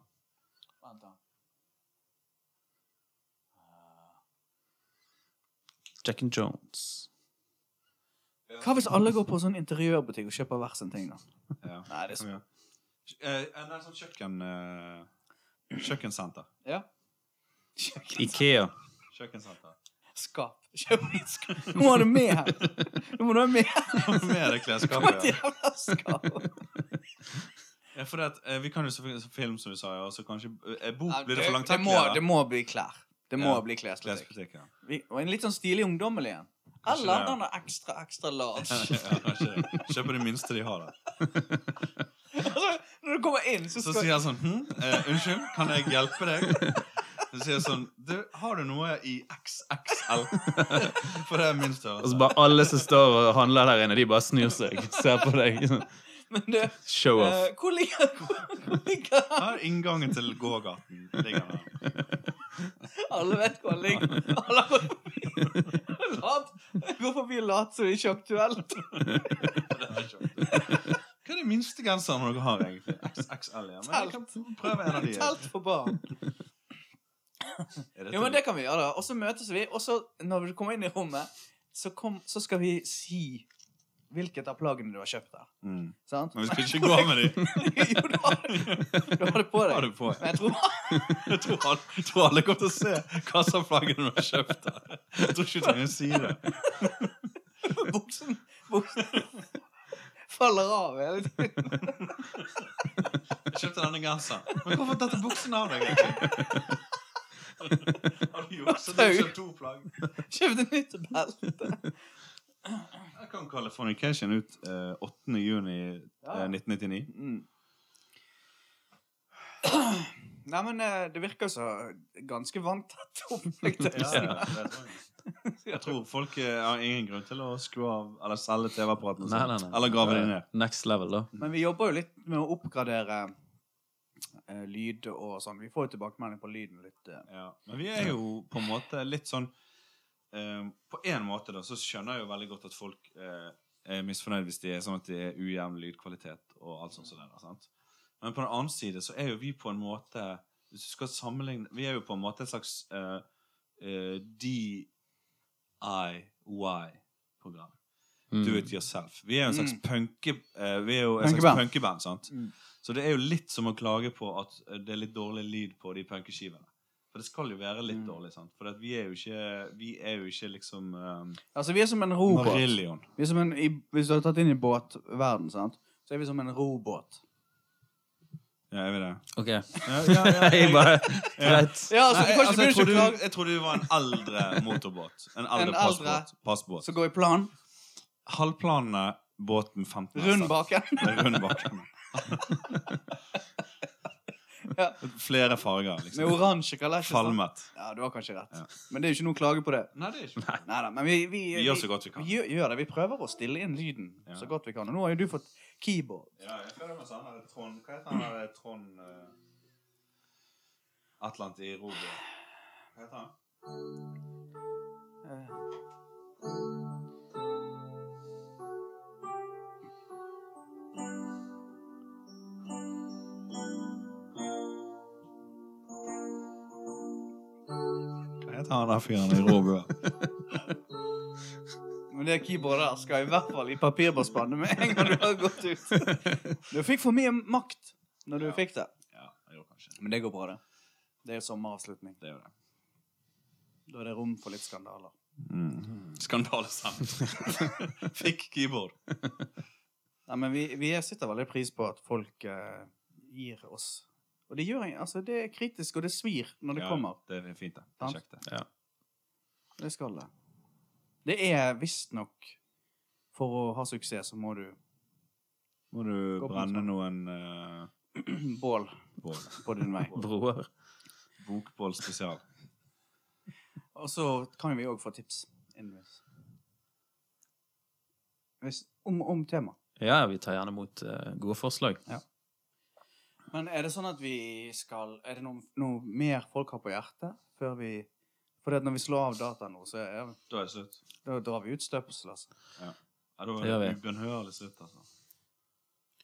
Vent da.
Jack and Jones.
Hva hvis alle går på sånn interiørbutikk og kjøper hver sin ting, da?
ja.
Nei, det er
Kom igjen. Eh, en sånn kjøkken... Eh, kjøkkensenter.
Ja. Kjøkken.
Ikea.
Kjøkkensenter.
Skap. Kjøkkenskap. Nå må du med her! Nå må du være med her!
Med det
Kom et
klesskapet. ja.
jævla skap!
Ja, for det at, eh, vi kan jo selvfølgelig se film, som du sa, ja, og så kanskje... Eh, bok blir det for langt
det, må, det må bli klær. Det må
Ja.
bli klesbutikk.
Klesbutikk, ja.
Vi- Og en litt sånn stilig ungdommelig en. Eller
det, ja.
den er ekstra, ekstra large.
ja kanskje det. Kjøper det minste de har, da.
Altså, Når du kommer inn, så
Så
skal
sier han sånn, hm, eh, unnskyld, kan jeg hjelpe deg? Så sier jeg sånn, du, har du noe i XXL? For det er min
Altså,
Og så
størrelse.
bare alle som står og handler der inne, de bare snur seg. Ser på deg.
Men du, eh,
Show off.
hvor ligger, hvor, hvor ligger den?
Her er inngangen til gågaten. Ligger der.
Alle vet hvor han ligger. Alle går forbi. Lat. Går forbi og later som det ikke er aktuelt.
Hva er det minste genseren dere har, egentlig? XXL, ja. Men jeg kan prøve en av de.
Telt for barn.
Er dette-
Jo, men det kan vi gjøre. da. Og så møtes vi, og så, når du kommer inn i rommet, så, kom, så skal vi si hvilket av plaggene du har kjøpt der.
Mm.
Sant?
Men vi skal ikke gå med de.
jo, du har, du har det på
Har
deg.
du på?
Men jeg tror
Jeg tror alle, jeg tror alle kommer til å se hva som er flaggene du har kjøpt der. Jeg tror ikke du trenger å si det.
buksen, buksen faller av hele tiden.
Jeg kjøpte denne genseren. Men hvorfor dette buksen av deg, egentlig? Har du jukset? Du har kjøpt to plagg.
Kjøpte nytt belte.
Jeg kan Californication ut eh, 8. juni eh, 1999.
Mm. Nei, men eh, det virker så ganske vanntett opplegg. til
Ja,
resten.
det tror jeg. jeg tror folk eh, har ingen grunn til å skru av eller selge TV-apparaten
Nei,
sin.
nei, nei.
Eller grave dem ned.
Next level, da.
Men vi jobber jo litt med å oppgradere eh, lyd og sånn. Vi får jo tilbakemelding på lyden litt. eh.
Ja. Men vi er jo på en måte litt sånn eh, På en måte da, så skjønner jeg jo veldig godt at folk eh, er misfornøyd hvis de er sånn at det er ujevn lydkvalitet og alt sånt som det der. sant? Men på den annen side så er jo vi på en måte Hvis du skal sammenligne Vi er jo på en måte et slags eh, eh, DIY-program.
Mm.
Do it yourself. Vi er jo en slags
Mm.
punke... eh, vi er jo en slags
Punkeband.
punkeband, sant?
Mm.
Så det er jo litt som å klage på at eh, det er litt dårlig lyd på de punkeskivene. For det skal jo være litt
Mm.
dårlig, sant? For at vi er jo ikke, vi er jo ikke liksom um,
Altså, vi er som en robåt.
Marillion.
Vi er som en, i, hvis du har tatt inn i båtverden, sant? så er vi som en robåt.
Ja, er vi det?
OK.
Ja, ja, ja,
Jeg bare Greit.
Ja, så
Nei,
du
jeg,
kan
altså, jeg,
ikke
trodde,
begynne å
jeg trodde du var en eldre motorbåt. En
En
eldre
eldre-
passbåt. passbåt.
Så går i plan.
Halvplanene båten 15 hester.
Rund baken.
Med Rund bakken.
Ja.
Flere farger,
Med
liksom.
oransje kalesje. sant?
Falmet.
Ja, du har kanskje rett.
Ja.
Men det er jo ikke noe å klage på det.
Nei, det er ikke
Neida, men vi, vi,
Vi gjør så godt vi kan.
Vi gjør, gjør det. Vi prøver å stille inn lyden
Ja.
så godt vi kan. Og nå har jo du fått keyboard.
Ja, jeg føler meg sånn der Trond Hva heter han der Trond eh, Atlant i Robo? Hva heter han?
Eh,
Hva heter han der fyren i Robo?
Men det keyboardet der skal i hvert fall i papirbåndspannet med en gang du har gått ut. Du fikk for mye makt når du
Ja.
fikk det.
ja, jeg gjorde kanskje det.
Men det går bra, det. Det er sommeravslutning.
Det er jo det.
Da er det rom for litt skandaler.
Skandale sammen. Fikk keyboard.
Nei, men vi, vi sitter veldig pris på at folk eh, gir oss Og det gjør jeg. Altså, det er kritisk, og det svir når det kommer.
Det er fint, det. det. er
Sant.
Kjekt, det.
Det skal det. Det er visstnok For å ha suksess så må du
Må du
Gå på
brenne
sånn.
noen
bål
eh, bål.
på din vei.
Broer.
Bokbål spesial.
Og så kan vi òg få tips innvis. Hvis, om, om tema.
Ja, vi tar gjerne imot eh, gode forslag.
Men er det sånn at vi skal Er det noe, noe mer folk har på hjertet før vi For når vi slår av dataen nå, så er,
Da er det slutt.
da drar vi ut støpsel, altså.
Ja, da
Det gjør
var det ubønnhørlig slutt, altså.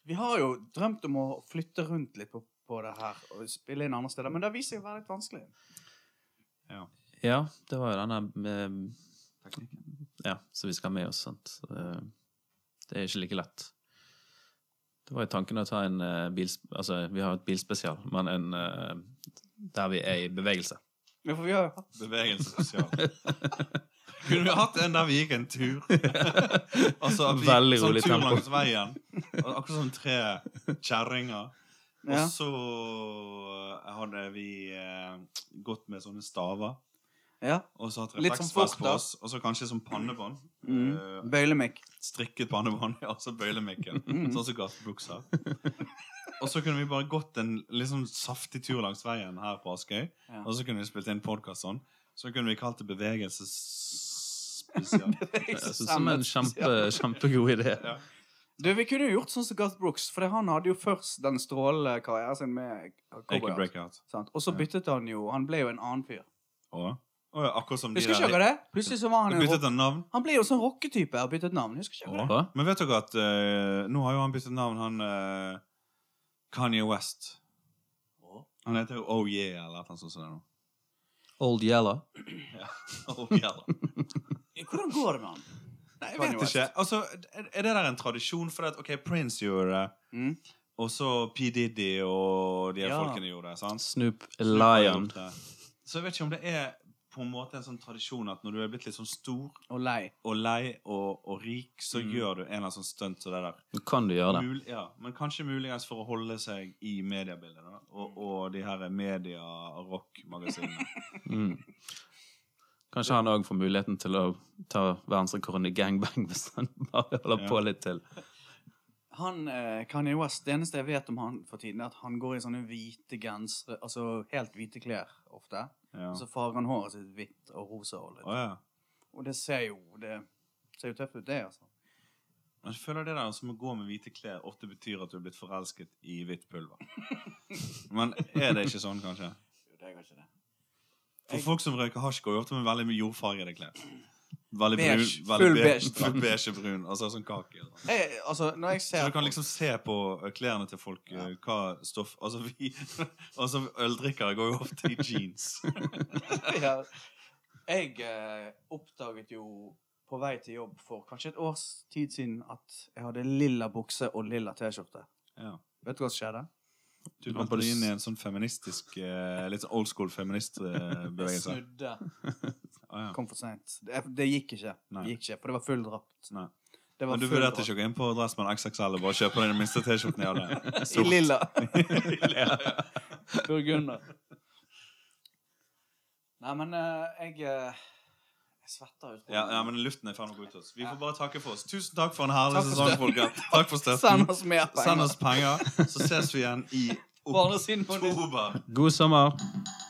Vi har jo drømt om å flytte rundt litt på, på det her og spille inn andre steder, men det har vist seg å være litt vanskelig.
Ja, det var jo denne med,
Teknikken.
Ja, som vi skal ha med oss, sant. Eh, Det er ikke like lett. Det var jo tanken å ta en eh, bils... Altså, vi har et bilspesial, men en eh, der vi er i bevegelse.
Ja, for vi har jo
Bevegelse spesial. Kunne vi hatt en der vi gikk en tur? altså at vi
Veldig
gikk sånn
rolig
tur
tempo.
langs veien. Og Akkurat som tre kjerringer. Og
ja.
så hadde vi eh, gått med sånne staver.
ja.
Og så hatt
Litt som
refleksvest
folk,
på
da.
oss. Og så kanskje som pannebånd.
Mm.
Eh,
Bøylemikk.
strikket pannebånd, ja, altså bøylemikken.
Mm.
Sånn som gassbukser. Og så kunne vi bare gått en liksom saftig tur langs veien her på Askøy.
Ja.
Og så kunne vi spilt inn podkast sånn. Så kunne vi kalt det bevegelsesspesial.
Jeg
altså,
synes det er en kjempe, kjempegod idé.
Ja.
Du, Vi kunne jo gjort sånn som Garth Brooks, for han hadde jo først den strålende karrieren sin med
Take a
cowboy.
breakout.
sant? Og så
Ja.
byttet han jo Han ble jo en annen fyr.
Og, og ja, akkurat som de
Husker ikke dere det? Plutselig så var han
Da
en
byttet
rock...
han navn.
Han ble jo sånn rocketype og byttet navn. Husker ikke dere det?
Og, men vet dere at eh, nå har jo han byttet navn, han eh, Kanye West. Han heter jo Oh Yeah eller noe sånt. som det nå.
Old Yellow.
Oh yeah.
Hvordan går det med han? Nei,
Jeg vet ikke. Altså, er er det der en tradisjon? For at, ok, Prince gjorde det,
Mm.
og så P. Diddy og de her
Ja.
folkene gjorde det. sant?
Snoop Lion.
Snoop har gjort det. Så jeg vet ikke om det er på en måte en sånn tradisjon at når du er blitt litt sånn stor
Og lei.
og lei og, og rik, så
Mm.
gjør du en eller annen sånn stunt som det der.
Nå kan du gjøre det.
Mul ja, men kanskje muligens for å holde seg i mediebildet, da. Og, og de her media-rock-magasinene.
Mm. Kanskje han òg får muligheten til å ta verdensrekorden i gangbang hvis han bare holder
Ja.
på litt til.
han, eh, Kanye West, Det eneste jeg vet om han for tiden, er at han går i sånne hvite gensere, altså helt hvite klær ofte.
Ja.
Så farger han håret sitt hvitt og rosa. Og, litt.
Å, ja.
og det ser jo det ser jo tøft ut, det, altså.
Men jeg føler det der som å gå med hvite klær ofte betyr at du er blitt forelsket i hvitt pulver. Men er det ikke sånn, kanskje?
Jo, det går ikke det.
For folk som røyker hasj, går jo ofte med veldig mye jordfargede klær. Veldig brun,
Beige.
veldig
Full
be-
beige, da.
Full beige brun. Altså sånn kake. og sånn.
Jeg, altså, når jeg
Så
ser
du kan liksom se på eh, klærne til folk eh, hva stoff Altså, vi altså, øldrikkere går jo ofte i jeans.
ja. Jeg eh, oppdaget jo på vei til jobb for kanskje et års tid siden at jeg hadde lilla bukse og lilla T-skjorte.
Ja.
Vet du hva som skjedde?
Du
Men
vendte
på
deg
s-
inn i en sånn feministisk eh, Litt sånn old school
Jeg
feministbevegelse.
snudde.
Ah, ja.
Kom for seint. Det, det gikk ikke.
Nei.
Det gikk ikke, For det var full drakt.
Nei.
Det var
Men du
full
vurderte
drakt.
ikke å gå inn på Dressmann XXL og bare kjøpe deg den minste T-skjorten i alle?
I lilla.
Ja.
Burgunder. Nei, men eh, jeg eh, Jeg svetter ut.
Ja, ja, men luften er ferdig med å gå ut av oss. Vi får bare takke for oss. Tusen takk for en herlig
Takk for
sesong,
støtten.
folkens. Takk for
Send
støtten.
oss mer penger.
Send oss penger, så ses vi igjen i
På andre siden på
oktober.
God sommer!